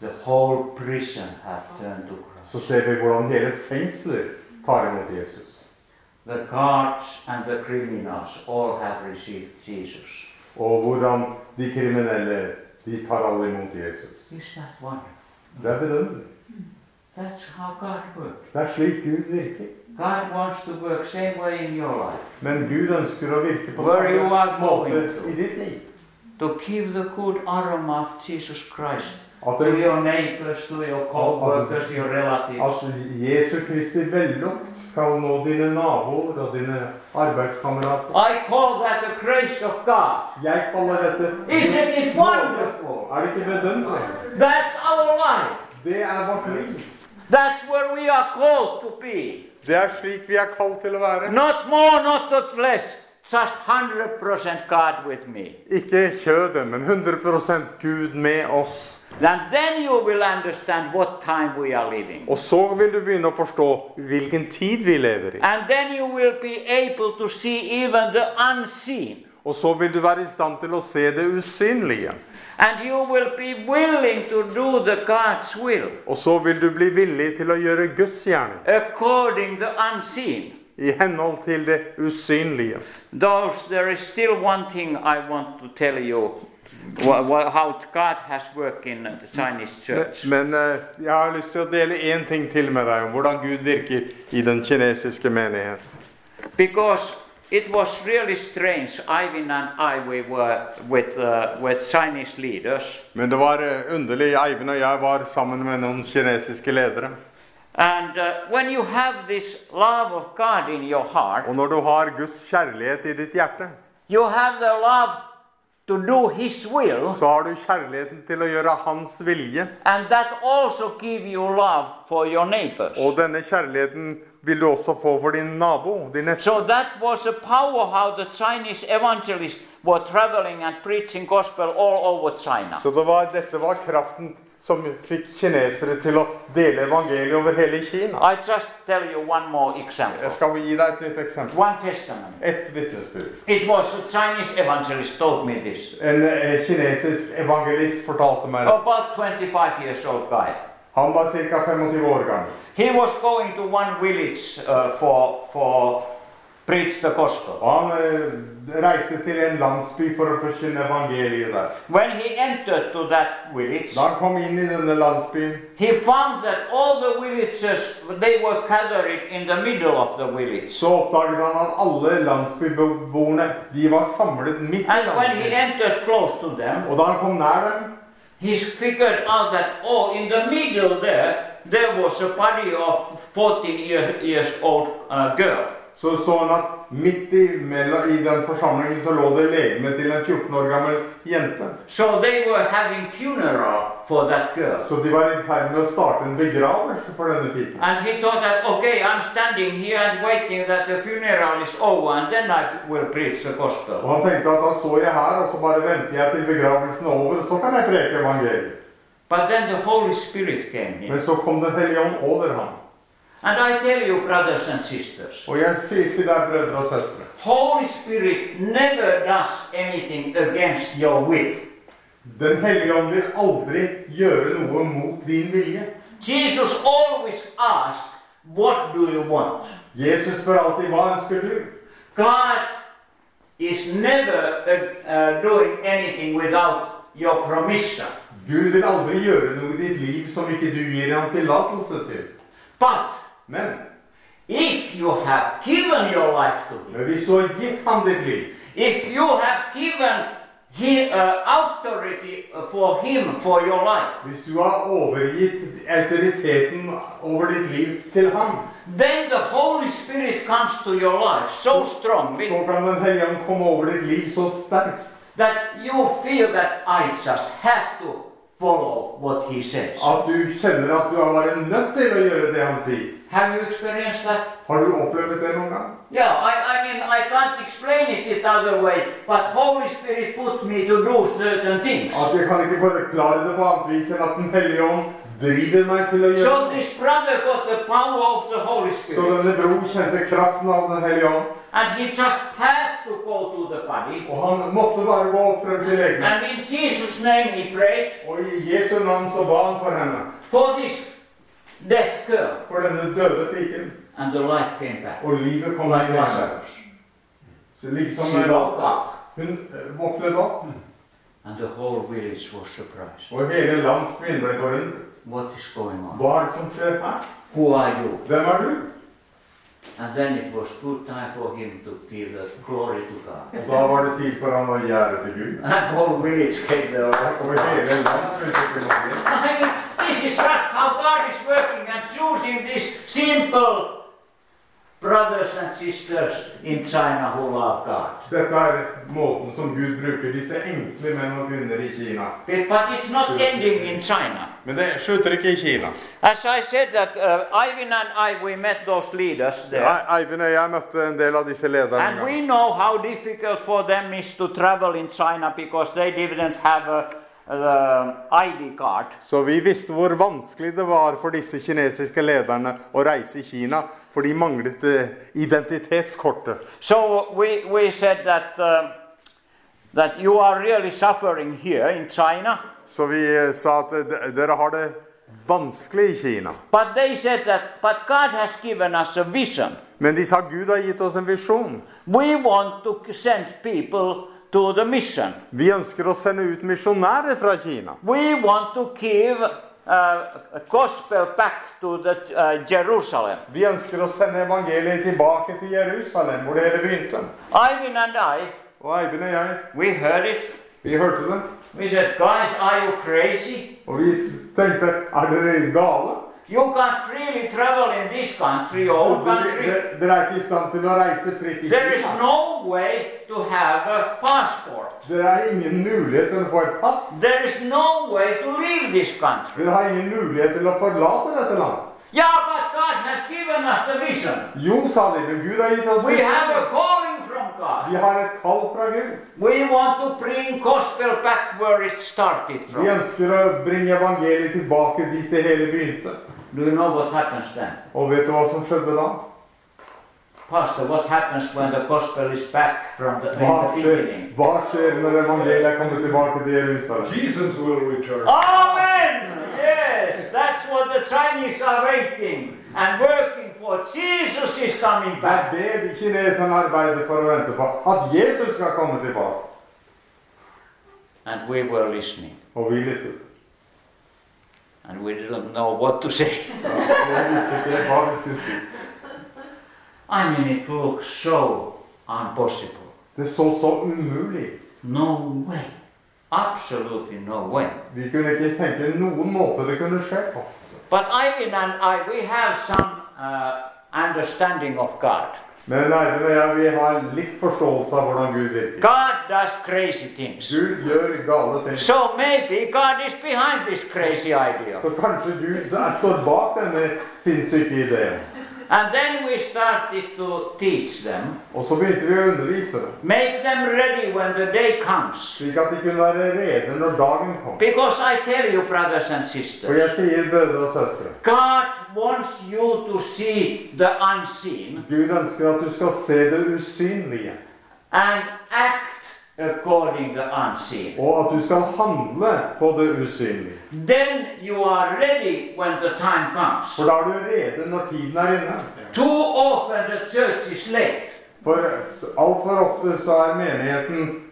Speaker 2: the whole prison have turned to Christ.
Speaker 1: Så ser vi hvordan hele fengsler tar imot Jesus.
Speaker 2: The guards and the criminals all have received Jesus.
Speaker 1: Og hvordan de kriminelle De tar alle imot Jesus.
Speaker 2: Is that one?
Speaker 1: Det er vidunderlig.
Speaker 2: That's how God works.
Speaker 1: Det er slik Gud virker.
Speaker 2: God wants to work same way in your life
Speaker 1: Men Gud ønsker å virke på
Speaker 2: Where you
Speaker 1: samme
Speaker 2: are going
Speaker 1: måte
Speaker 2: to.
Speaker 1: i ditt liv.
Speaker 2: to give the good aroma of Jesus Christ
Speaker 1: At,
Speaker 2: to
Speaker 1: det,
Speaker 2: your neighbors, to your co-workers, your relatives.
Speaker 1: at Jesu Kristi vellukt skal nå dine naboer og dine arbeidskamerater.
Speaker 2: I call that the grace of God.
Speaker 1: Jeg kaller dette
Speaker 2: Isn't it wonderful?
Speaker 1: Er det ikke vidunderlig?
Speaker 2: That's our life.
Speaker 1: Det er vårt liv.
Speaker 2: That's where we are called to be.
Speaker 1: Det er slik vi er kalt til å være.
Speaker 2: Not more, not the less. Just 100% God with me.
Speaker 1: Ikke kjødet, men 100 Gud med oss.
Speaker 2: And then you will understand what time we are living.
Speaker 1: Og så vil du begynne å forstå hvilken tid vi lever i.
Speaker 2: And then you will be able to see even the unseen.
Speaker 1: Og så vil du være i stand til å se det usynlige.
Speaker 2: And you will be willing to do the God's will
Speaker 1: Og så vil du bli villig til å gjøre Guds gjerning
Speaker 2: according the unseen.
Speaker 1: i henhold til det usynlige.
Speaker 2: Those, there is still one thing I want to tell you wha- wha- how God has worked in the Chinese
Speaker 1: Men,
Speaker 2: church.
Speaker 1: men eh, jeg har lyst til å dele én ting til med deg om hvordan Gud virker i den kinesiske menighet.
Speaker 2: Because it was really strange, Ivan and I, we were with, uh, with Chinese leaders,
Speaker 1: Men det var eh, underlig. Eivind og jeg var sammen med noen kinesiske ledere.
Speaker 2: and uh, when you have this love of God in your heart,
Speaker 1: Og når du har Guds kjærlighet i ditt hjerte,
Speaker 2: you have the love to do His will,
Speaker 1: så har du kjærligheten til å gjøre Hans vilje.
Speaker 2: and that also give you love for your neighbors.
Speaker 1: Og denne kjærligheten vil du også få for din nabo, din neste.
Speaker 2: So that was the power how the Chinese evangelists were traveling and preaching gospel all over China.
Speaker 1: Så det var, dette var kraften som fikk kinesere til å dele evangeliet over hele Kina.
Speaker 2: I just tell you one more
Speaker 1: Jeg
Speaker 2: example.
Speaker 1: skal gi deg et nytt eksempel.
Speaker 2: One testimony.
Speaker 1: Et vitnesbyrd.
Speaker 2: It was a Chinese evangelist told me this.
Speaker 1: En eh, kinesisk evangelist fortalte meg det.
Speaker 2: About 25 years old guy.
Speaker 1: Han var ca. 25 år gammel.
Speaker 2: He was going to one village uh, for for preach the gospel.
Speaker 1: Og han eh, reiste til en landsby for å forkynne evangeliet der.
Speaker 2: When he entered to that village,
Speaker 1: Da han kom inn i denne landsbyen,
Speaker 2: he found that all the villagers they were gathered in the middle of the village.
Speaker 1: så oppdaget han at alle landsbybeboerne de var samlet midt i
Speaker 2: And when he
Speaker 1: landsbyen.
Speaker 2: entered close to them,
Speaker 1: Og da han kom nær dem,
Speaker 2: he figured out that, oh, in the middle there, there was a body of 14 year, years old uh, girl.
Speaker 1: så så han at midt i, mellom, i den forsamlingen så lå det legemet til en 14 år gammel jente.
Speaker 2: So they were having funeral for that girl.
Speaker 1: Så de var i ferd med å starte en begravelse for denne piken.
Speaker 2: And he thought that, okay, I'm standing here and waiting that the funeral is over and then I will preach the
Speaker 1: Og
Speaker 2: gospel.
Speaker 1: han tenkte at da står jeg her, og så bare venter jeg til begravelsen er over, så kan jeg preke evangeliet.
Speaker 2: But then the Holy Spirit came in.
Speaker 1: Men så kom Den hellige ånd over ham.
Speaker 2: And I tell you, brothers and sisters,
Speaker 1: Og jeg sier til deg, brødre og søstre,
Speaker 2: Holy Spirit never does anything against your will.
Speaker 1: Den hellige ånd vil aldri gjøre noe mot din vilje.
Speaker 2: Jesus always asks, What do you want?
Speaker 1: Jesus spør alltid hva ønsker du?
Speaker 2: God is never uh, uh, doing anything without your permission.
Speaker 1: Gud vil aldri gjøre noe i ditt liv som ikke du gir ham tillatelse til.
Speaker 2: But
Speaker 1: Men,
Speaker 2: if you have given your life to Him,
Speaker 1: men hvis du har gitt ham ditt liv,
Speaker 2: if you have given he, uh, authority for Him for your life,
Speaker 1: hvis du har overgitt autoriteten over ditt liv til ham,
Speaker 2: then the Holy Spirit comes to your life
Speaker 1: så
Speaker 2: so strongly
Speaker 1: kan Den hellige ånd komme over ditt liv så sterkt
Speaker 2: that you feel that I just have to follow what He says.
Speaker 1: at du kjenner at du er bare nødt til å gjøre det han sier.
Speaker 2: Have you experienced that?
Speaker 1: Har du opplevd det noen gang?
Speaker 2: Yeah, I, I mean, I can't explain it the other way, but Holy Spirit put me to do certain things.
Speaker 1: At jeg kan ikke forklare det på annet vis enn at Den hellige ånd driver meg til å gjøre
Speaker 2: So
Speaker 1: det.
Speaker 2: this brother got the power of the Holy
Speaker 1: Så
Speaker 2: Spirit,
Speaker 1: denne bror kjente kraften av Den hellige ånd,
Speaker 2: and he just had to go to the body.
Speaker 1: og han måtte bare gå opp frem til legen.
Speaker 2: And in Jesus' name he prayed
Speaker 1: Og i Jesu navn så ba han for henne,
Speaker 2: for this deaf girl,
Speaker 1: for denne døde piken,
Speaker 2: and the life came back.
Speaker 1: og livet kom
Speaker 2: Like
Speaker 1: inn i henne.
Speaker 2: Lazarus.
Speaker 1: Så Liksom
Speaker 2: She woke
Speaker 1: Lazarus.
Speaker 2: up.
Speaker 1: Hun eh, våknet opp,
Speaker 2: And the whole village was surprised.
Speaker 1: Og hele landsbyen ble forundret.
Speaker 2: What is going on?
Speaker 1: Hva er det som skjer her?
Speaker 2: Who are you?
Speaker 1: Hvem er du?
Speaker 2: And then it was good time for him to give the glory to God.
Speaker 1: Og da var det tid for han å gi ære til Gud.
Speaker 2: And whole village gave the
Speaker 1: Og hele landsbyen fikk det til.
Speaker 2: I mean, <laughs> this is not how God is working and choosing these simple brothers and sisters in China who love God.
Speaker 1: Dette er måten som Gud bruker disse enkle menn og kvinner i Kina.
Speaker 2: It- but it's not ending in China.
Speaker 1: Men det slutter ikke i Kina.
Speaker 2: As I said that uh, Ivan and I, we met those leaders there.
Speaker 1: Eivind og jeg møtte en del av disse lederne. en
Speaker 2: And
Speaker 1: gang.
Speaker 2: we know how difficult for them is to travel in China because they didn't have a, a ID card.
Speaker 1: Så vi visste hvor vanskelig det var for disse kinesiske lederne å reise i Kina, for de manglet eh, identitetskortet.
Speaker 2: So we, we said that, uh, that you are really suffering here in China.
Speaker 1: Så vi eh, sa at eh, de- dere har det vanskelig i Kina.
Speaker 2: But they said that, but God has given us a vision.
Speaker 1: Men de sa Gud har gitt oss en visjon.
Speaker 2: We want to send people to the mission.
Speaker 1: Vi ønsker å sende ut misjonærer fra Kina.
Speaker 2: We want to give uh, gospel back to the, uh, Jerusalem.
Speaker 1: Vi ønsker å sende evangeliet tilbake til Jerusalem, hvor det hele begynte.
Speaker 2: Ivan and I,
Speaker 1: Og Eivind og jeg,
Speaker 2: we heard it.
Speaker 1: vi hørte det.
Speaker 2: We said, guys, are you crazy?
Speaker 1: Og vi tenkte er dere gale?
Speaker 2: You can't freely travel in this country or own
Speaker 1: Dere,
Speaker 2: country.
Speaker 1: dere- dere er ikke i stand til å reise fritt i
Speaker 2: There is
Speaker 1: Kina.
Speaker 2: no way to have a passport.
Speaker 1: Dere har ingen mulighet til å få et pass.
Speaker 2: There is no way to leave this country.
Speaker 1: Dere har ingen mulighet til å forlate dette landet.
Speaker 2: Yeah, but God has given us the vision.
Speaker 1: Jo, sa de, men Gud har gitt oss
Speaker 2: We
Speaker 1: visjon.
Speaker 2: have a calling from God.
Speaker 1: Vi har et kall fra Gud.
Speaker 2: We want to bring gospel back where it started
Speaker 1: Vi
Speaker 2: from.
Speaker 1: ønsker å bringe evangeliet tilbake dit det hele begynte.
Speaker 2: Do you know what happens then?
Speaker 1: Og vet du hva som skjedde da?
Speaker 2: Pastor, what happens when the gospel is back from the,
Speaker 1: Hva
Speaker 2: in the
Speaker 1: skjer,
Speaker 2: beginning?
Speaker 1: hva skjer når evangeliet kommer tilbake til Jerusalem?
Speaker 3: Jesus will return.
Speaker 2: Amen! Yes, that's what the Chinese are waiting and working for. Jesus is
Speaker 1: Det er
Speaker 2: coming back.
Speaker 1: det de kineserne arbeider for å vente på. At Jesus skal komme tilbake.
Speaker 2: And we were listening
Speaker 1: Og vi lyttet.
Speaker 2: and we didn't know what to say.
Speaker 1: Vi visste ikke hva vi skulle si.
Speaker 2: I mean, it looks so impossible.
Speaker 1: Det så så umulig.
Speaker 2: No way. Absolutely no way.
Speaker 1: Vi kunne ikke tenke noen måte det kunne skje på.
Speaker 2: But Ivan and I, we have some uh, understanding of God.
Speaker 1: Men Eivind og jeg vi har litt forståelse av hvordan Gud virker.
Speaker 2: God does crazy things.
Speaker 1: Gud gjør gale ting.
Speaker 2: So maybe God is behind this crazy idea.
Speaker 1: Så kanskje Gud står bak denne sinnssyke ideen.
Speaker 2: And then we started to teach them,
Speaker 1: Og så begynte vi å undervise dem,
Speaker 2: make them ready when the day comes.
Speaker 1: slik at de kunne være rede når dagen kom.
Speaker 2: Because I tell you, brothers and
Speaker 1: Og
Speaker 2: sisters,
Speaker 1: jeg sier, brødre og søstre,
Speaker 2: God wants you to see the unseen
Speaker 1: Gud ønsker at du skal se det usynlige,
Speaker 2: and act according to the unseen.
Speaker 1: og at du skal handle på det usynlige.
Speaker 2: Then you are ready when the time comes.
Speaker 1: For da er du rede når tiden er inne.
Speaker 2: Too often the church is late.
Speaker 1: For altfor ofte så er menigheten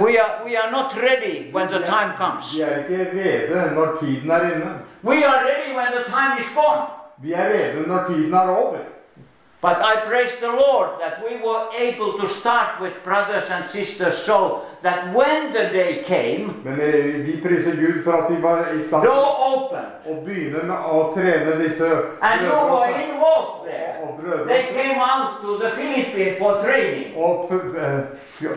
Speaker 2: We are, we are not ready when the time comes.
Speaker 1: Vi er ikke rede når tiden er inne.
Speaker 2: We are ready when the time is gone.
Speaker 1: Vi er rede når tiden er over.
Speaker 2: But I praise the Lord that we were able to start with brothers and sisters so that when the day came,
Speaker 1: Men eh, vi priser Gud for at de var i stand til
Speaker 2: door opened
Speaker 1: å begynne med å trene disse
Speaker 2: and you
Speaker 1: brødre og
Speaker 2: were
Speaker 1: søstre.
Speaker 2: involved there.
Speaker 1: og brødre
Speaker 2: They came out to the Philippines for training.
Speaker 1: og, pu- eh, ja,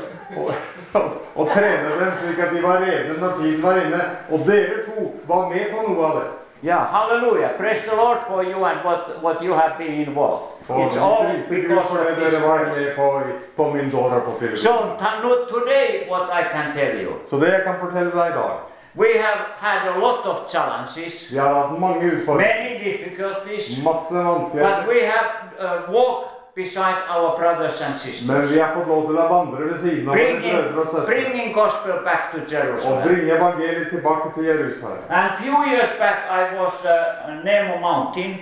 Speaker 1: og, og, og trene dem slik at de var rene når tiden var inne. Og dere to var med på noe av det.
Speaker 2: Yeah, hallelujah. Praise the Lord for you and what, what you have been involved.
Speaker 1: Og
Speaker 2: It's all
Speaker 1: vi priser Gud
Speaker 2: because
Speaker 1: for det
Speaker 2: of
Speaker 1: dere var
Speaker 2: this.
Speaker 1: med på, i- på min dåra på Filippinene.
Speaker 2: So t- no- today, what I can tell you,
Speaker 1: Så det jeg kan fortelle deg i dag
Speaker 2: we have had a lot of challenges,
Speaker 1: Vi har hatt mange utfordringer.
Speaker 2: many difficulties,
Speaker 1: Masse vanskeligheter.
Speaker 2: but we have uh, walked beside our brothers and sisters,
Speaker 1: Men vi har fått lov til å vandre ved siden av våre
Speaker 2: bringing,
Speaker 1: brødre og søstre
Speaker 2: bringing gospel back to
Speaker 1: og
Speaker 2: Jerusalem.
Speaker 1: bringe evangeliet tilbake til Jerusalem.
Speaker 2: And few years back, I was uh, Nemo Mountain,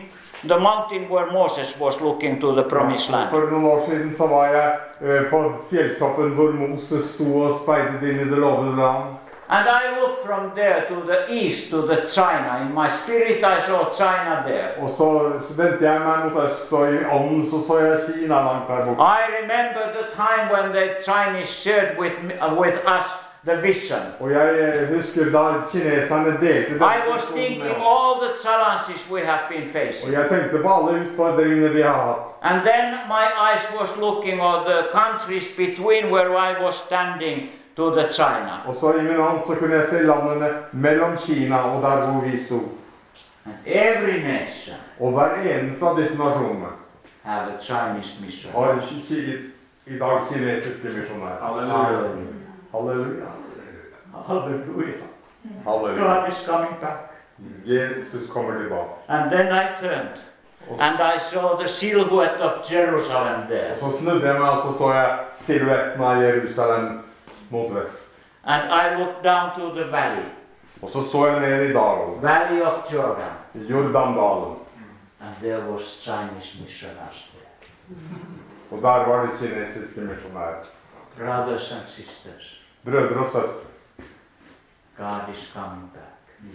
Speaker 2: the mountain where Moses was looking to the promised land.
Speaker 1: For noen år siden så var jeg eh, på fjelltoppen hvor Moses sto og speidet inn i det lovede land.
Speaker 2: And I looked from there to the east to the China. In my spirit, I saw China there.
Speaker 1: Og så, så vendte jeg meg mot øst, og i ånden så så jeg Kina langt der borte.
Speaker 2: I remember the time when the Chinese shared with, me, uh, with us the vision.
Speaker 1: Og jeg eh, husker da kineserne delte denne
Speaker 2: I was
Speaker 1: visjonen med
Speaker 2: thinking
Speaker 1: oss.
Speaker 2: all the challenges we have been
Speaker 1: Og
Speaker 2: facing.
Speaker 1: jeg tenkte på alle utfordringene vi har hatt.
Speaker 2: And then my eyes was looking on the countries between where I was standing to the China.
Speaker 1: Og så i min hånd så kunne jeg se landene mellom Kina og der hvor vi sto.
Speaker 2: And every nation
Speaker 1: Og hver eneste av disse nasjonene
Speaker 2: have a Chinese mission.
Speaker 1: har en ki- ki- i dag kinesiske misjonærer.
Speaker 2: Halleluja.
Speaker 1: Halleluja.
Speaker 2: Hallelujah.
Speaker 1: Halleluja.
Speaker 2: God is coming back.
Speaker 1: Jesus kommer tilbake.
Speaker 2: And then I turned and I saw the silhouette of Jerusalem
Speaker 1: Og
Speaker 2: there.
Speaker 1: så snudde jeg meg, og så så jeg silhuetten av Jerusalem mot vest.
Speaker 2: And I looked down to the valley,
Speaker 1: Og så så jeg ned i dalen,
Speaker 2: valley of Jordan.
Speaker 1: i Jordandalen.
Speaker 2: And there was Chinese missionaries there,
Speaker 1: Og der var det kinesiske misjonærer.
Speaker 2: brothers and sisters.
Speaker 1: Brødre og søstre.
Speaker 2: God is coming back.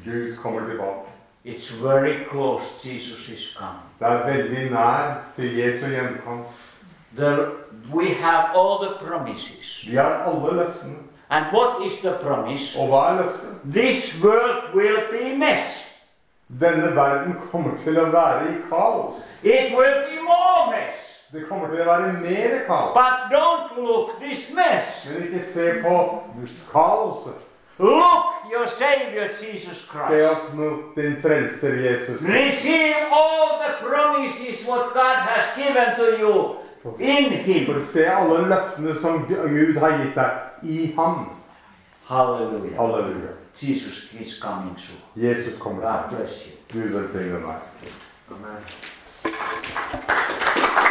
Speaker 1: Gud kommer tilbake.
Speaker 2: It's very close. Jesus is coming.
Speaker 1: Det er veldig nær til Jesu gjenkomst.
Speaker 2: There, we have all the promises.
Speaker 1: Vi har alle løftene.
Speaker 2: And what is the promise?
Speaker 1: Og hva er løftet?
Speaker 2: This world will be mess.
Speaker 1: Denne verden kommer til å være i kaos.
Speaker 2: It will be more mess.
Speaker 1: Det kommer til å være mer kaos.
Speaker 2: But don't look this mess.
Speaker 1: Men ikke se på kaoset.
Speaker 2: Look your Savior Jesus
Speaker 1: Se
Speaker 2: Christ.
Speaker 1: opp mot din frelser Jesus.
Speaker 2: Receive all the promises what God has given to you in Him.
Speaker 1: For se alle løftene som Gud har gitt deg i ham.
Speaker 2: Hallelujah.
Speaker 1: Halleluja.
Speaker 2: Jesus is coming soon.
Speaker 1: Jesus kommer
Speaker 2: God
Speaker 1: tilbake.
Speaker 2: bless you.
Speaker 1: Gud velsigne deg.